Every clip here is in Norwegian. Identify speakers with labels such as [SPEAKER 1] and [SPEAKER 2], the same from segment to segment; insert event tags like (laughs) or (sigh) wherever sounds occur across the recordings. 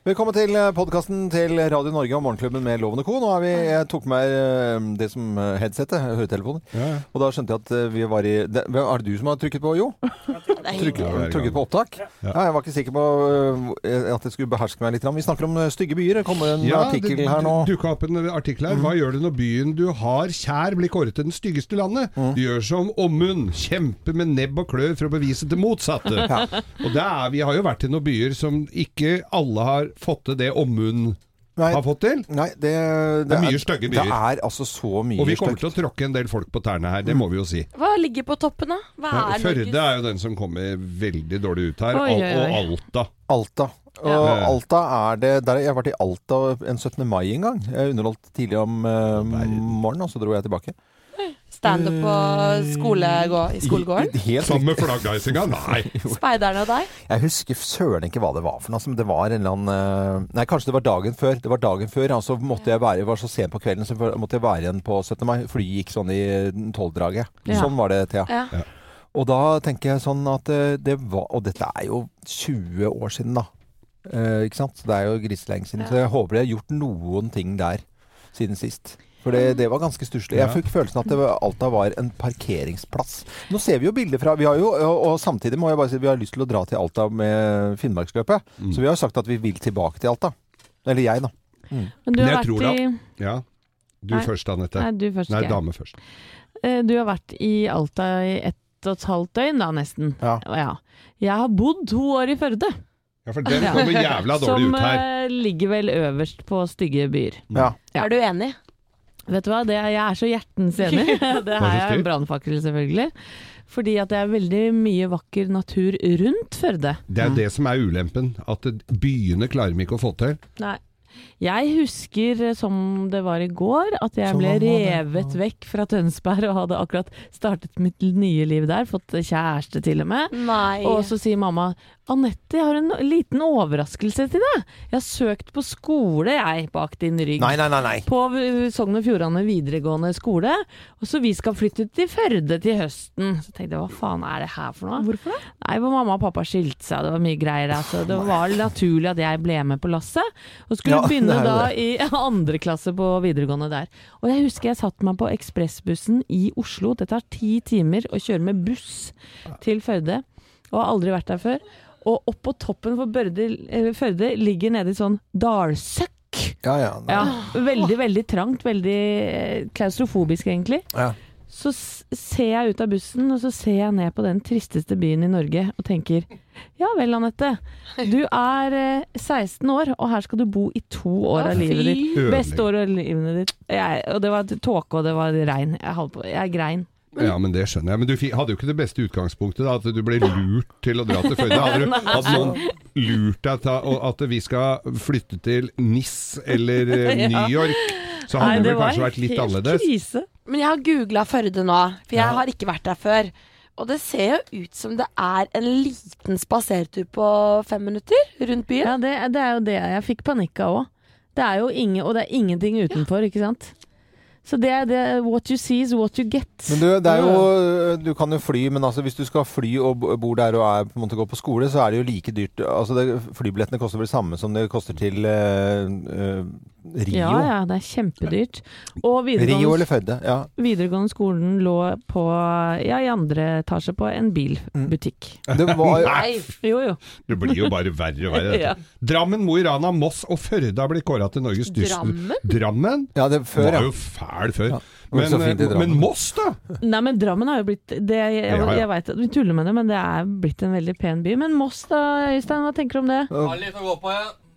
[SPEAKER 1] Velkommen til podkasten til Radio Norge og Morgenklubben med Loven og Co. Nå er vi, jeg tok med eh, det som headsetet, eh, høretelefoner.
[SPEAKER 2] Ja, ja.
[SPEAKER 1] Og da skjønte jeg at eh, vi var i det, hvem- Er det du som har trykket på
[SPEAKER 2] (laughs)
[SPEAKER 1] jo? Trykket,
[SPEAKER 2] Ja, hver gang.
[SPEAKER 1] trykket på opptak? Ja, jeg var ikke sikker på eh, at jeg skulle beherske meg litt. grann. Vi snakker om eh, stygge byer. Det kommer en artikkel
[SPEAKER 2] det
[SPEAKER 1] her nå.
[SPEAKER 2] dukka opp en artikkel her. Hva gjør du når byen du har kjær, blir kåret til den styggeste landet? Du gjør som Ommund. Kjempe med nebb og klør for å bevise det motsatte. Og det er, Vi har jo vært i noen byer som ikke alle har fått til det Ommund
[SPEAKER 1] Nei.
[SPEAKER 2] har fått til.
[SPEAKER 1] Nei, det,
[SPEAKER 2] Det er mye stygge byer.
[SPEAKER 1] Det er altså så mye
[SPEAKER 2] Og vi kommer
[SPEAKER 1] stygt.
[SPEAKER 2] til å tråkke en del folk på tærne her, det må vi jo si.
[SPEAKER 3] Hva ligger på toppen, da? Hva er
[SPEAKER 2] Førde
[SPEAKER 3] Norges-
[SPEAKER 2] er jo den som kommer veldig dårlig ut her,
[SPEAKER 3] Oi,
[SPEAKER 2] Al-
[SPEAKER 3] oi, oi.
[SPEAKER 2] og Alta.
[SPEAKER 1] Alta. Og
[SPEAKER 2] Ja.
[SPEAKER 1] Alta er det der Jeg har vært i Alta en 17. mai en gang. Jeg underholdt tidlig om eh, morgenen, og så dro jeg tilbake.
[SPEAKER 3] Standup på skolegå- i
[SPEAKER 2] (laughs)
[SPEAKER 3] skolegården?
[SPEAKER 1] I- i- Helt
[SPEAKER 2] Sammen med flaggheisinga? Nei.
[SPEAKER 3] Speiderne og deg?
[SPEAKER 1] Jeg husker søren ikke hva det var for noe. som Det var en eller annen eh, Nei, kanskje det var dagen før. Det var dagen før, altså måtte jeg være, var så sent på kvelden, så måtte jeg være igjen på 17. mai. Flyet gikk sånn i tolvdraget.
[SPEAKER 3] Ja.
[SPEAKER 1] Sånn var det, Thea.
[SPEAKER 3] Ja.
[SPEAKER 1] Og da tenker jeg sånn at eh, det var Og dette er jo 20 år siden, da. Eh, ikke sant? Så Det er jo griselenge siden.
[SPEAKER 3] Ja.
[SPEAKER 1] Så jeg håper de har gjort noen ting der siden sist. For det, det var ganske stusslig. Jeg
[SPEAKER 2] Ja.
[SPEAKER 1] fikk følelsen at det var, Alta var en parkeringsplass. Nå ser vi jo bilder fra vi har jo, og, og samtidig må jeg bare si vi har lyst til å dra til Alta med Finnmarksløpet. Så vi har jo sagt at vi vil tilbake til Alta. Eller jeg, da.
[SPEAKER 4] Men du
[SPEAKER 2] Men
[SPEAKER 4] har
[SPEAKER 2] jeg tror
[SPEAKER 4] vært i
[SPEAKER 2] Mm. Ja. Du
[SPEAKER 4] Nei.
[SPEAKER 2] først, Anette.
[SPEAKER 4] Nei, du først.
[SPEAKER 2] Nei,
[SPEAKER 4] Geir.
[SPEAKER 2] dame først.
[SPEAKER 4] Eh, Du har vært i Alta i ett og et halvt døgn da, nesten.
[SPEAKER 1] Ja.
[SPEAKER 4] Ja. Jeg har bodd to år i Førde,
[SPEAKER 2] Ja, for den
[SPEAKER 4] Ja.
[SPEAKER 2] kommer jævla dårlig
[SPEAKER 4] som
[SPEAKER 2] ut her.
[SPEAKER 4] eh, ligger vel øverst på stygge byer.
[SPEAKER 1] Ja.
[SPEAKER 4] Ja.
[SPEAKER 3] Er du enig?
[SPEAKER 4] Vet du hva, det er, jeg er så hjertens
[SPEAKER 2] (laughs)
[SPEAKER 4] enig. (laughs) Det her er
[SPEAKER 2] stygt.
[SPEAKER 4] en brannfakkel, selvfølgelig. Fordi at det er veldig mye vakker natur rundt Førde.
[SPEAKER 2] Det er det som er ulempen, at byene klarer vi ikke å få til.
[SPEAKER 4] Nei. Jeg husker eh, som det var i går, at jeg
[SPEAKER 1] Som
[SPEAKER 4] ble
[SPEAKER 1] det var det,
[SPEAKER 4] revet vekk fra Tønsberg og hadde akkurat startet mitt nye liv der, fått kjæreste til og med.
[SPEAKER 3] Nei.
[SPEAKER 4] Og så sier mamma Anette, jeg har en liten overraskelse til deg. Jeg har søkt på skole, jeg, bak din rygg.
[SPEAKER 1] Nei, nei, nei. nei.
[SPEAKER 4] På uh, Sogn og Fjordane videregående skole. Og så vi skal flytte til Førde til høsten. Så tenkte jeg hva faen er det her for noe? Hvorfor det? Nei, for mamma og pappa skilte seg, det var mye greier. Altså. Det var naturlig at jeg ble med på lasset. Og skulle
[SPEAKER 1] Ja, det
[SPEAKER 4] begynne
[SPEAKER 1] er jo
[SPEAKER 4] da i (laughs) andre klasse på videregående der. Og jeg husker jeg satte meg på ekspressbussen i Oslo. Det tar ti timer å kjøre med buss til Førde. Og har aldri vært der før. Og oppå toppen for Børde, eh, Førde ligger nede i sånn dalsøkk.
[SPEAKER 1] Ja, ja, nei.
[SPEAKER 4] Ja, veldig, veldig trangt. Veldig eh, klaustrofobisk, egentlig.
[SPEAKER 1] Ja.
[SPEAKER 4] Så s- ser jeg ut av bussen, og så ser jeg ned på den tristeste byen i Norge og tenker ja vel, Anette. Du er eh, 16 år, og her skal du bo i to år
[SPEAKER 3] Å,
[SPEAKER 4] av livet
[SPEAKER 3] fy.
[SPEAKER 4] ditt. Beste år av livet ditt. Jeg, og det var tåke, og det var regn. Jeg, holdt på, jeg grein.
[SPEAKER 2] Ja, men det skjønner jeg. Men du fi- hadde jo ikke det beste utgangspunktet, da, at du ble lurt til å dra til Førde. Hadde,
[SPEAKER 4] (laughs)
[SPEAKER 2] du, hadde noen lurt deg til å- at vi skal flytte til NIS eller
[SPEAKER 4] (laughs)
[SPEAKER 2] eh, New York, så hadde det vel kanskje vært litt annerledes.
[SPEAKER 4] krise.
[SPEAKER 3] Men jeg har googla Førde nå, for jeg har ikke vært der før. Og det ser jo ut som det er en liten spasertur på fem minutter rundt byen.
[SPEAKER 4] Ja, det, det er jo det jeg fikk panikk av òg. Det er jo ingen, og det er ingenting utenfor, ikke sant. Så det er det What you see is what you get.
[SPEAKER 1] Men du, det er jo, du kan jo fly, men altså, hvis du skal fly og bo- bor der og er, på en måte går på skole, så er det jo like dyrt. Altså, det, flybillettene koster vel det samme som det koster til eh, eh, Rio.
[SPEAKER 4] Ja, ja, det er kjempedyrt. Og
[SPEAKER 1] Rio eller
[SPEAKER 4] videregående,
[SPEAKER 1] Førde. Ja.
[SPEAKER 4] videregående skolen lå på, ja, i andre etasje på en bilbutikk.
[SPEAKER 1] Det var,
[SPEAKER 3] Nei,
[SPEAKER 4] Jo, jo.
[SPEAKER 2] Det blir jo bare verre og verre.
[SPEAKER 4] (laughs) Ja.
[SPEAKER 2] dette. Drammen, Mo i Rana, Moss og Førde har blitt kåra til Norges dysten.
[SPEAKER 3] Drammen?
[SPEAKER 2] Drammen?
[SPEAKER 1] ja, det før,
[SPEAKER 2] var
[SPEAKER 1] ja.
[SPEAKER 2] jo fæl før.
[SPEAKER 1] var så
[SPEAKER 2] Men,
[SPEAKER 1] fint i
[SPEAKER 2] eh,
[SPEAKER 1] Drammen.
[SPEAKER 2] men Moss, da?
[SPEAKER 4] Nei, men Drammen har jo blitt det, Jeg, jeg,
[SPEAKER 2] Ja, ja.
[SPEAKER 4] jeg veit at vi tuller med det, men det er blitt en veldig pen by. Men Moss da, Øystein, hva tenker du om det?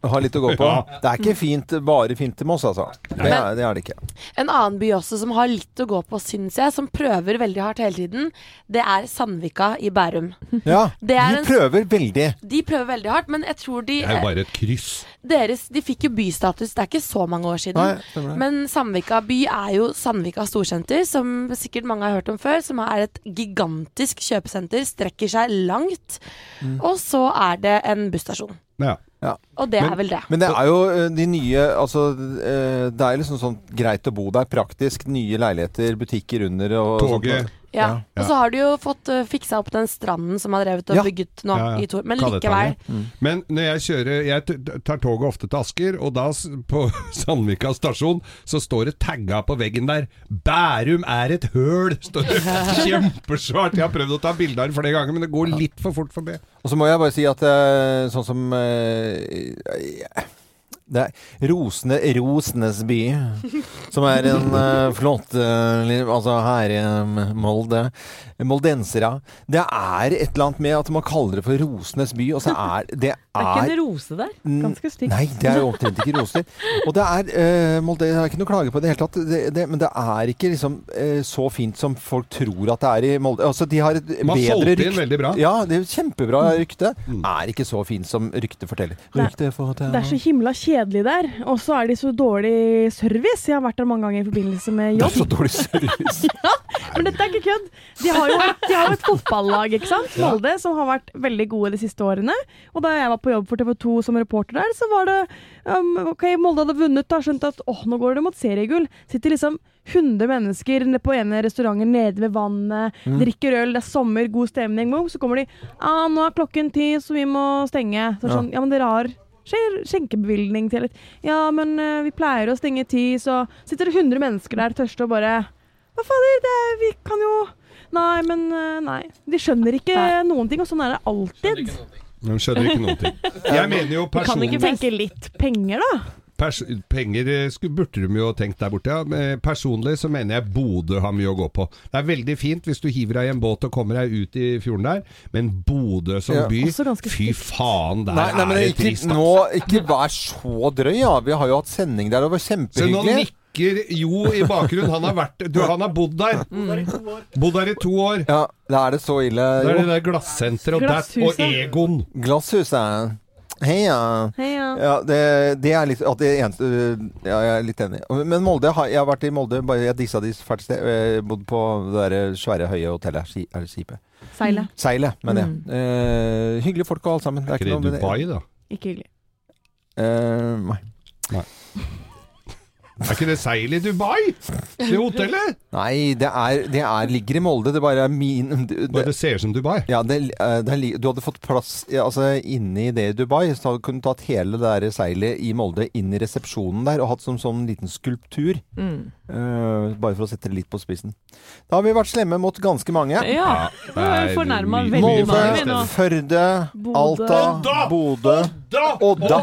[SPEAKER 1] Har litt å gå på. Det er ikke fint, bare fint til Moss, altså. Det er det, er det ikke.
[SPEAKER 3] En annen by også som har litt å gå på, syns jeg, som prøver veldig hardt hele tiden, det er Sandvika i Bærum.
[SPEAKER 1] Ja,
[SPEAKER 3] Det er
[SPEAKER 1] de
[SPEAKER 3] en- Mm.
[SPEAKER 1] prøver veldig.
[SPEAKER 3] De prøver veldig hardt, men jeg tror de
[SPEAKER 2] Det er jo bare et kryss.
[SPEAKER 3] deres, De fikk jo bystatus, det er ikke så mange år siden.
[SPEAKER 1] Nei, stemmer det.
[SPEAKER 3] men Sandvika by er jo Sandvika storsenter, som sikkert mange har hørt om før. Som er et gigantisk kjøpesenter, strekker seg langt.
[SPEAKER 1] Mm.
[SPEAKER 3] Og så er det en busstasjon.
[SPEAKER 2] Ja.
[SPEAKER 3] Og det
[SPEAKER 2] Men-
[SPEAKER 3] er vel det.
[SPEAKER 1] Men det er jo eh, de nye Altså, eh, det er liksom sånn greit å bo der. Praktisk. Nye leiligheter, butikker under og
[SPEAKER 2] Toget.
[SPEAKER 1] sånt.
[SPEAKER 3] Ja.
[SPEAKER 1] Ja.
[SPEAKER 3] Og så har du jo fått eh, fiksa opp den stranden som har drevet og
[SPEAKER 1] Ja.
[SPEAKER 3] bygget nå
[SPEAKER 2] Ja, ja.
[SPEAKER 3] i to år. Men likevel.
[SPEAKER 2] Kalletangen.
[SPEAKER 1] Mm.
[SPEAKER 2] Men når jeg kjører Jeg t- tar toget ofte til Asker, og da s- på (laughs) Sandvika stasjon så står det tagga på veggen der 'Bærum er et høl'! Står
[SPEAKER 1] (laughs)
[SPEAKER 2] det kjempesvært. Jeg har prøvd å ta bilde av det flere ganger, men det går litt for fort forbi.
[SPEAKER 1] Og så må jeg bare si at eh, sånn som eh, det er Rosene, Rosenes by, som er en eh, flott eh, li- Altså her i eh, Molde. Moldensere. Det er et eller annet med at man kaller det for Rosenes by, og så er det
[SPEAKER 4] Det (laughs) er ikke en
[SPEAKER 1] er
[SPEAKER 4] rose der.
[SPEAKER 1] Mm.
[SPEAKER 4] Ganske stygt.
[SPEAKER 1] Nei, det er jo omtrent ikke roser. Og det er eh, Molde jeg har ikke noe klage på det i det hele tatt, det, det, men det er ikke liksom eh, så fint som folk tror at det er i Molde. Altså, de har et
[SPEAKER 2] Man
[SPEAKER 1] bedre
[SPEAKER 2] solgte inn
[SPEAKER 1] rykte.
[SPEAKER 2] veldig bra.
[SPEAKER 1] Ja, det er jo kjempebra
[SPEAKER 2] Mm.
[SPEAKER 1] rykte. Er ikke så fint som ryktet forteller.
[SPEAKER 5] Nei.
[SPEAKER 1] Rykte forteller.
[SPEAKER 5] Det er så himla kjedelig der. Og så er de så dårlig service. Jeg har vært der mange ganger i forbindelse med
[SPEAKER 1] Det er
[SPEAKER 5] jobb.
[SPEAKER 1] så
[SPEAKER 2] (laughs)
[SPEAKER 1] dårlig service.
[SPEAKER 5] Men dette er ikke kødd. De har jo hatt- de har jo et fotballag, ikke sant? Molde, som har vært veldig gode de siste årene. Og da jeg var på jobb for TV2 som reporter der, så var det um, OK, Molde hadde vunnet, da. Skjønt at åh, nå går det mot seriegull. Sitter liksom 100 mennesker nede på ene restauranten nede ved vannet, drikker øl, det er sommer, god stemning. Boom, Så kommer de ah, 'Nå er klokken ti, så vi må stenge'. Så er det sånn, ja, men dere har skjer- skjenkebevilgning til litt. Ja, men eh, vi pleier å stenge ti, så sitter det 100 mennesker der tørste og bare Hva fader, det er, vi kan jo Nei, men eh, nei. De skjønner ikke
[SPEAKER 4] Nei.
[SPEAKER 5] noen ting, og sånn er det alltid.
[SPEAKER 2] De skjønner ikke noen
[SPEAKER 1] (laughs)
[SPEAKER 2] ting. Jeg mener jo
[SPEAKER 5] Kan de
[SPEAKER 2] personlig
[SPEAKER 5] ikke tenke litt penger, da?
[SPEAKER 2] Pers penger eh, sku- burde de jo tenkt der borte. Ja. Eh, Personlig så mener jeg Bodø har mye å gå på. Det er veldig fint hvis du hiver deg i en båt og kommer deg ut i fjorden der, men Bodø som
[SPEAKER 1] Ja.
[SPEAKER 2] by
[SPEAKER 5] Også ganske
[SPEAKER 2] Fy faen, der
[SPEAKER 1] Nei, nei, men
[SPEAKER 2] er det
[SPEAKER 1] ikke,
[SPEAKER 2] trist.
[SPEAKER 1] nå,
[SPEAKER 2] altså.
[SPEAKER 1] ikke vær så drøy, ja. Vi har jo hatt sending der, og det var
[SPEAKER 2] Se, nå
[SPEAKER 1] kjempehyggelig.
[SPEAKER 2] nikker Jo i bakgrunnen. Han har, vært, du, han har bodd der.
[SPEAKER 4] Mm.
[SPEAKER 2] Bodd der i to år.
[SPEAKER 1] Ja, da er det så ille.
[SPEAKER 2] Det er det
[SPEAKER 1] Jo.
[SPEAKER 2] der glassenteret og, der- og
[SPEAKER 5] Glasshuset.
[SPEAKER 2] Egon.
[SPEAKER 1] Glasshuset. Heia.
[SPEAKER 5] Heia.
[SPEAKER 1] Ja, det, det er litt at det eneste, øh, ja, Jeg er litt enig. Men Molde har, Jeg har vært i Molde, bare jeg dissa de fælt sted. øh, Bodd på det der eh, svære, høye hotellet. Ski- er det Skipet.
[SPEAKER 3] (laughs)
[SPEAKER 5] Seilet.
[SPEAKER 1] Seilet, mener jeg.
[SPEAKER 5] Mm.
[SPEAKER 1] Eh, hyggelige folk og alt sammen. Det er
[SPEAKER 2] Er
[SPEAKER 1] ikke
[SPEAKER 2] det
[SPEAKER 1] noe med det.
[SPEAKER 2] Dubai, da?
[SPEAKER 5] Ikke hyggelig.
[SPEAKER 1] Eh, nei.
[SPEAKER 2] Er ikke det seil i Dubai? Det hotellet?
[SPEAKER 1] Nei, det, er, det er, ligger i Molde. Det bare er min det,
[SPEAKER 2] Bare det ser ut som Dubai.
[SPEAKER 1] ja, det, eh, det er, li- du hadde fått plass ja, altså, inne i det i Dubai. Så hadde du kunnet tatt hele det der seilet i Molde inn i resepsjonen der og hatt som sånn liten skulptur.
[SPEAKER 4] Mm.
[SPEAKER 1] Eh, bare for å sette det litt på spissen. Da har vi vært slemme mot ganske mange.
[SPEAKER 4] Ja. Nå er vi fornærma
[SPEAKER 2] mye-
[SPEAKER 4] veldig
[SPEAKER 2] mye
[SPEAKER 1] Molde,
[SPEAKER 4] mange vi nå.
[SPEAKER 2] fornærmet.
[SPEAKER 1] Førde,
[SPEAKER 5] Bodø.
[SPEAKER 1] Alta,
[SPEAKER 2] Odda!
[SPEAKER 1] Bodø, Odda.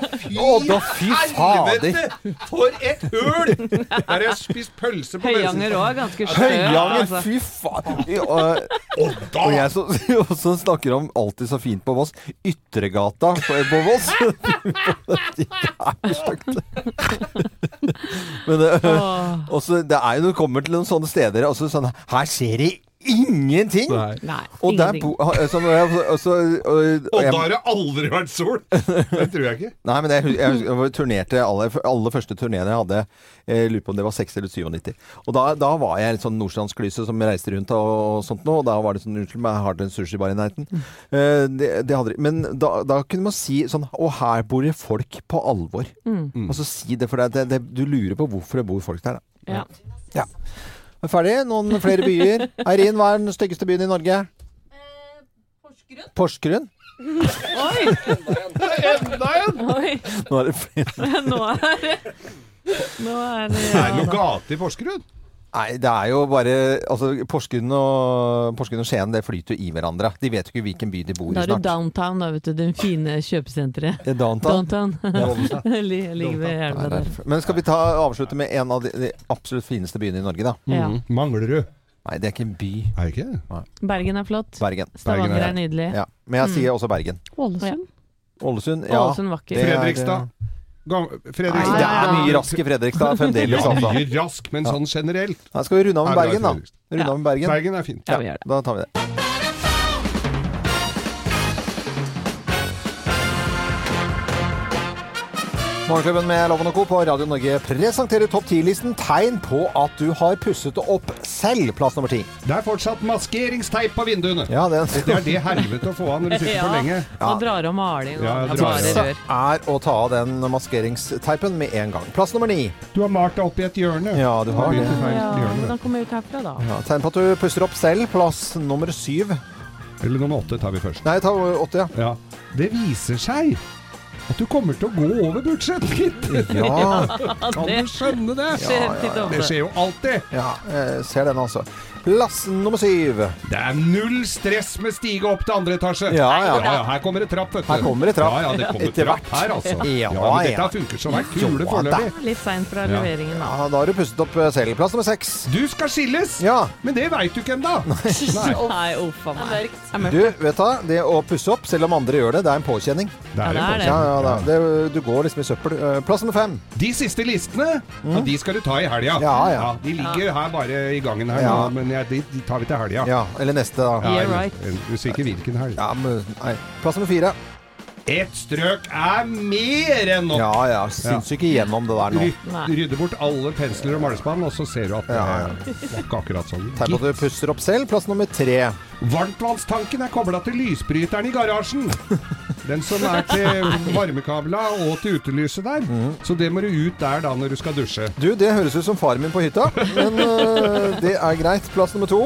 [SPEAKER 1] Odda, fy fader!
[SPEAKER 2] For et høl! Der har jeg spist pølse på
[SPEAKER 4] Høyanger òg er ganske stø.
[SPEAKER 1] Høyanger,
[SPEAKER 4] altså.
[SPEAKER 1] fy faen!
[SPEAKER 2] Odda!
[SPEAKER 1] Og jeg som (laughs) også snakker om alltid så fint på Voss, Ytregata på, på Voss. (laughs) Det er stygt. Men det,
[SPEAKER 4] Åh,
[SPEAKER 1] også, det er jo når du kommer til noen sånne steder altså sånn, Her skjer det ingenting!
[SPEAKER 2] Nei.
[SPEAKER 4] Nei,
[SPEAKER 1] Og der
[SPEAKER 4] ingenting.
[SPEAKER 1] bo... Så, og jeg, altså, og så, og, og
[SPEAKER 2] Odda
[SPEAKER 1] jeg,
[SPEAKER 2] har det aldri vært sol! Det tror jeg ikke.
[SPEAKER 1] nei, men jeg, hus- jeg, hus- jeg turnerte aller, aller første turneene jeg hadde. Jeg lurer på om det var 6 eller 97. Og da, da var jeg litt sånn nordstrandsklyse som reiste rundt og, og sånt nå. Og da var det sånn Unnskyld meg, har dere en sushibar i nærheten? Eh, det, det hadde de. Men da, da kunne man si sånn Og her bor det folk på alvor. Altså si det, for det, det, det, du lurer på hvorfor det bor folk der, da.
[SPEAKER 4] Ja.
[SPEAKER 1] Er Ferdig. Noen flere byer. Eirin, hva er den styggeste byen i Norge? Porsgrunn. Porsgrunn?
[SPEAKER 4] Oi,
[SPEAKER 2] Enda en!
[SPEAKER 4] oi.
[SPEAKER 1] Nå er det flere.
[SPEAKER 4] Nå er det Nå er det
[SPEAKER 2] Det er
[SPEAKER 4] ja,
[SPEAKER 2] noe gate i Porsgrunn.
[SPEAKER 1] Nei, det er jo bare Altså, Porsgrunn og, Porsgrunn og Skien det flyter jo i hverandre. De vet jo ikke hvilken by de bor
[SPEAKER 4] Da
[SPEAKER 1] i
[SPEAKER 4] er det
[SPEAKER 1] snart.
[SPEAKER 4] downtown, da, vet du. Den fine kjøpesenteret.
[SPEAKER 1] Eh, Downtown.
[SPEAKER 4] Downtown.
[SPEAKER 1] Ja.
[SPEAKER 4] (laughs) Li- Ligger ved elva
[SPEAKER 1] Nei,
[SPEAKER 4] der.
[SPEAKER 1] det er- Men skal vi ta, avslutte med en av de, de absolutt fineste byene i Norge, da?
[SPEAKER 4] Ja.
[SPEAKER 2] Mm. Manglerud.
[SPEAKER 1] Nei, det er ikke en by.
[SPEAKER 2] Er det ikke det?
[SPEAKER 4] Bergen er flott.
[SPEAKER 1] Bergen.
[SPEAKER 4] Stavanger
[SPEAKER 2] Bergen
[SPEAKER 4] er nydelig.
[SPEAKER 1] Ja. Men jeg sier også Bergen.
[SPEAKER 5] Ålesund.
[SPEAKER 1] Ålesund? Ja.
[SPEAKER 4] Ålesund vakker.
[SPEAKER 1] Det er-
[SPEAKER 2] Fredrikstad. Gam
[SPEAKER 1] Nei,
[SPEAKER 2] Fredrikstad.
[SPEAKER 1] det er mye rask i Fredrikstad fremdeles,
[SPEAKER 2] Ja,
[SPEAKER 1] altså.
[SPEAKER 2] mye rask, men sånn generelt.
[SPEAKER 1] Nei, skal vi runde av med
[SPEAKER 2] Nei, det er
[SPEAKER 1] Bergen, da?
[SPEAKER 2] Fredrikstad.
[SPEAKER 1] Runde av med Bergen.
[SPEAKER 2] Bergen er fint.
[SPEAKER 4] Ja, vi gjør det.
[SPEAKER 1] Da tar vi det. Morgenklubben med Loven og Co. på Radio Norge presenterer topp 10-listen tegn på at du har pusset opp selv. Plass nummer ti.
[SPEAKER 2] Det er fortsatt maskeringsteip på vinduene.
[SPEAKER 1] Ja, den (laughs)
[SPEAKER 2] Det er det helvete å få av når du sitter for lenge.
[SPEAKER 1] Ja.
[SPEAKER 4] Og drar om maling og
[SPEAKER 2] Ja,
[SPEAKER 4] ja,
[SPEAKER 2] drar
[SPEAKER 4] bare
[SPEAKER 2] om.
[SPEAKER 1] beste
[SPEAKER 4] rør.
[SPEAKER 1] er å ta av den maskeringsteipen med en gang. Plass nummer ni.
[SPEAKER 2] Du har malt deg opp i et hjørne.
[SPEAKER 1] Ja, du har
[SPEAKER 2] begynt
[SPEAKER 1] det.
[SPEAKER 2] i feil
[SPEAKER 4] Ja,
[SPEAKER 2] hjørne.
[SPEAKER 4] hvordan kommer jeg ut herfra da?
[SPEAKER 1] Ja, tegn på at du pusser opp selv. Plass nummer syv.
[SPEAKER 2] Eller nummer åtte tar vi først.
[SPEAKER 1] Nei, ta
[SPEAKER 4] (laughs)
[SPEAKER 1] åtte, ja.
[SPEAKER 2] Ja. Det viser seg at du kommer til å gå over budsjett, gitt.
[SPEAKER 1] Ja,
[SPEAKER 2] Kan du skjønne det?
[SPEAKER 4] Skjer titt og ofte.
[SPEAKER 2] Det skjer jo alltid.
[SPEAKER 1] ja eh, ser den altså. Plass nummer syv.
[SPEAKER 2] Det er null stress med stige opp til andre etasje.
[SPEAKER 1] Ja, ja.
[SPEAKER 2] Ja, ja, her kommer det trapp, vet du.
[SPEAKER 1] Her kommer det trapp.
[SPEAKER 2] Ja, ja, det kommer
[SPEAKER 1] Etter
[SPEAKER 2] trapp
[SPEAKER 1] hvert.
[SPEAKER 2] her, altså.
[SPEAKER 1] Ja, ja.
[SPEAKER 2] men Dette funker som ei
[SPEAKER 1] Ja,
[SPEAKER 2] kule
[SPEAKER 1] da.
[SPEAKER 2] foreløpig.
[SPEAKER 4] Litt seint fra
[SPEAKER 2] Ja.
[SPEAKER 4] leveringen, da.
[SPEAKER 1] Ja, da har du pusset opp eh, selv. Plass nummer seks.
[SPEAKER 2] Du skal skilles,
[SPEAKER 1] Ja.
[SPEAKER 2] men det veit du
[SPEAKER 1] (laughs)
[SPEAKER 2] ikke ennå. Nei.
[SPEAKER 4] Nei, uff a meg.
[SPEAKER 1] Du, vet du, hva? det å pusse opp, selv om andre gjør det, det er en påkjenning.
[SPEAKER 4] Ja, det er det.
[SPEAKER 1] Ja, ja, da. Det, du går liksom i søppel. Eh, Plass nummer fem.
[SPEAKER 2] De siste listene, ja, de skal du ta i helga.
[SPEAKER 1] Mm. Ja, ja.
[SPEAKER 2] de ligger her bare i gangen her
[SPEAKER 1] Ja.
[SPEAKER 2] nå, men ja, de, de tar vi til helga.
[SPEAKER 1] Ja, eller neste, da.
[SPEAKER 4] Yeah,
[SPEAKER 2] eller-
[SPEAKER 4] right.
[SPEAKER 2] eller Usikker hvilken helg.
[SPEAKER 1] Ja, men, nei. Plass nummer fire.
[SPEAKER 2] Ett strøk er mer enn nok!
[SPEAKER 1] Ja ja, sinnssyke gjennom det der nå.
[SPEAKER 2] Ry-
[SPEAKER 4] Nei.
[SPEAKER 2] Rydde bort alle pensler og malespann, og så ser du at det
[SPEAKER 1] Ja, ja.
[SPEAKER 2] er- det er ikke akkurat sånn.
[SPEAKER 1] Tegn på at du pusser opp selv. Plass nummer tre.
[SPEAKER 2] Varmtvannstanken er kobla til lysbryteren i garasjen. Den som er til varmekabla og til utelyset der.
[SPEAKER 1] Mhm.
[SPEAKER 2] Så det må du ut der da når du skal dusje.
[SPEAKER 1] Du, det høres ut som faren min på hytta, men øh, det er greit. Plass nummer to.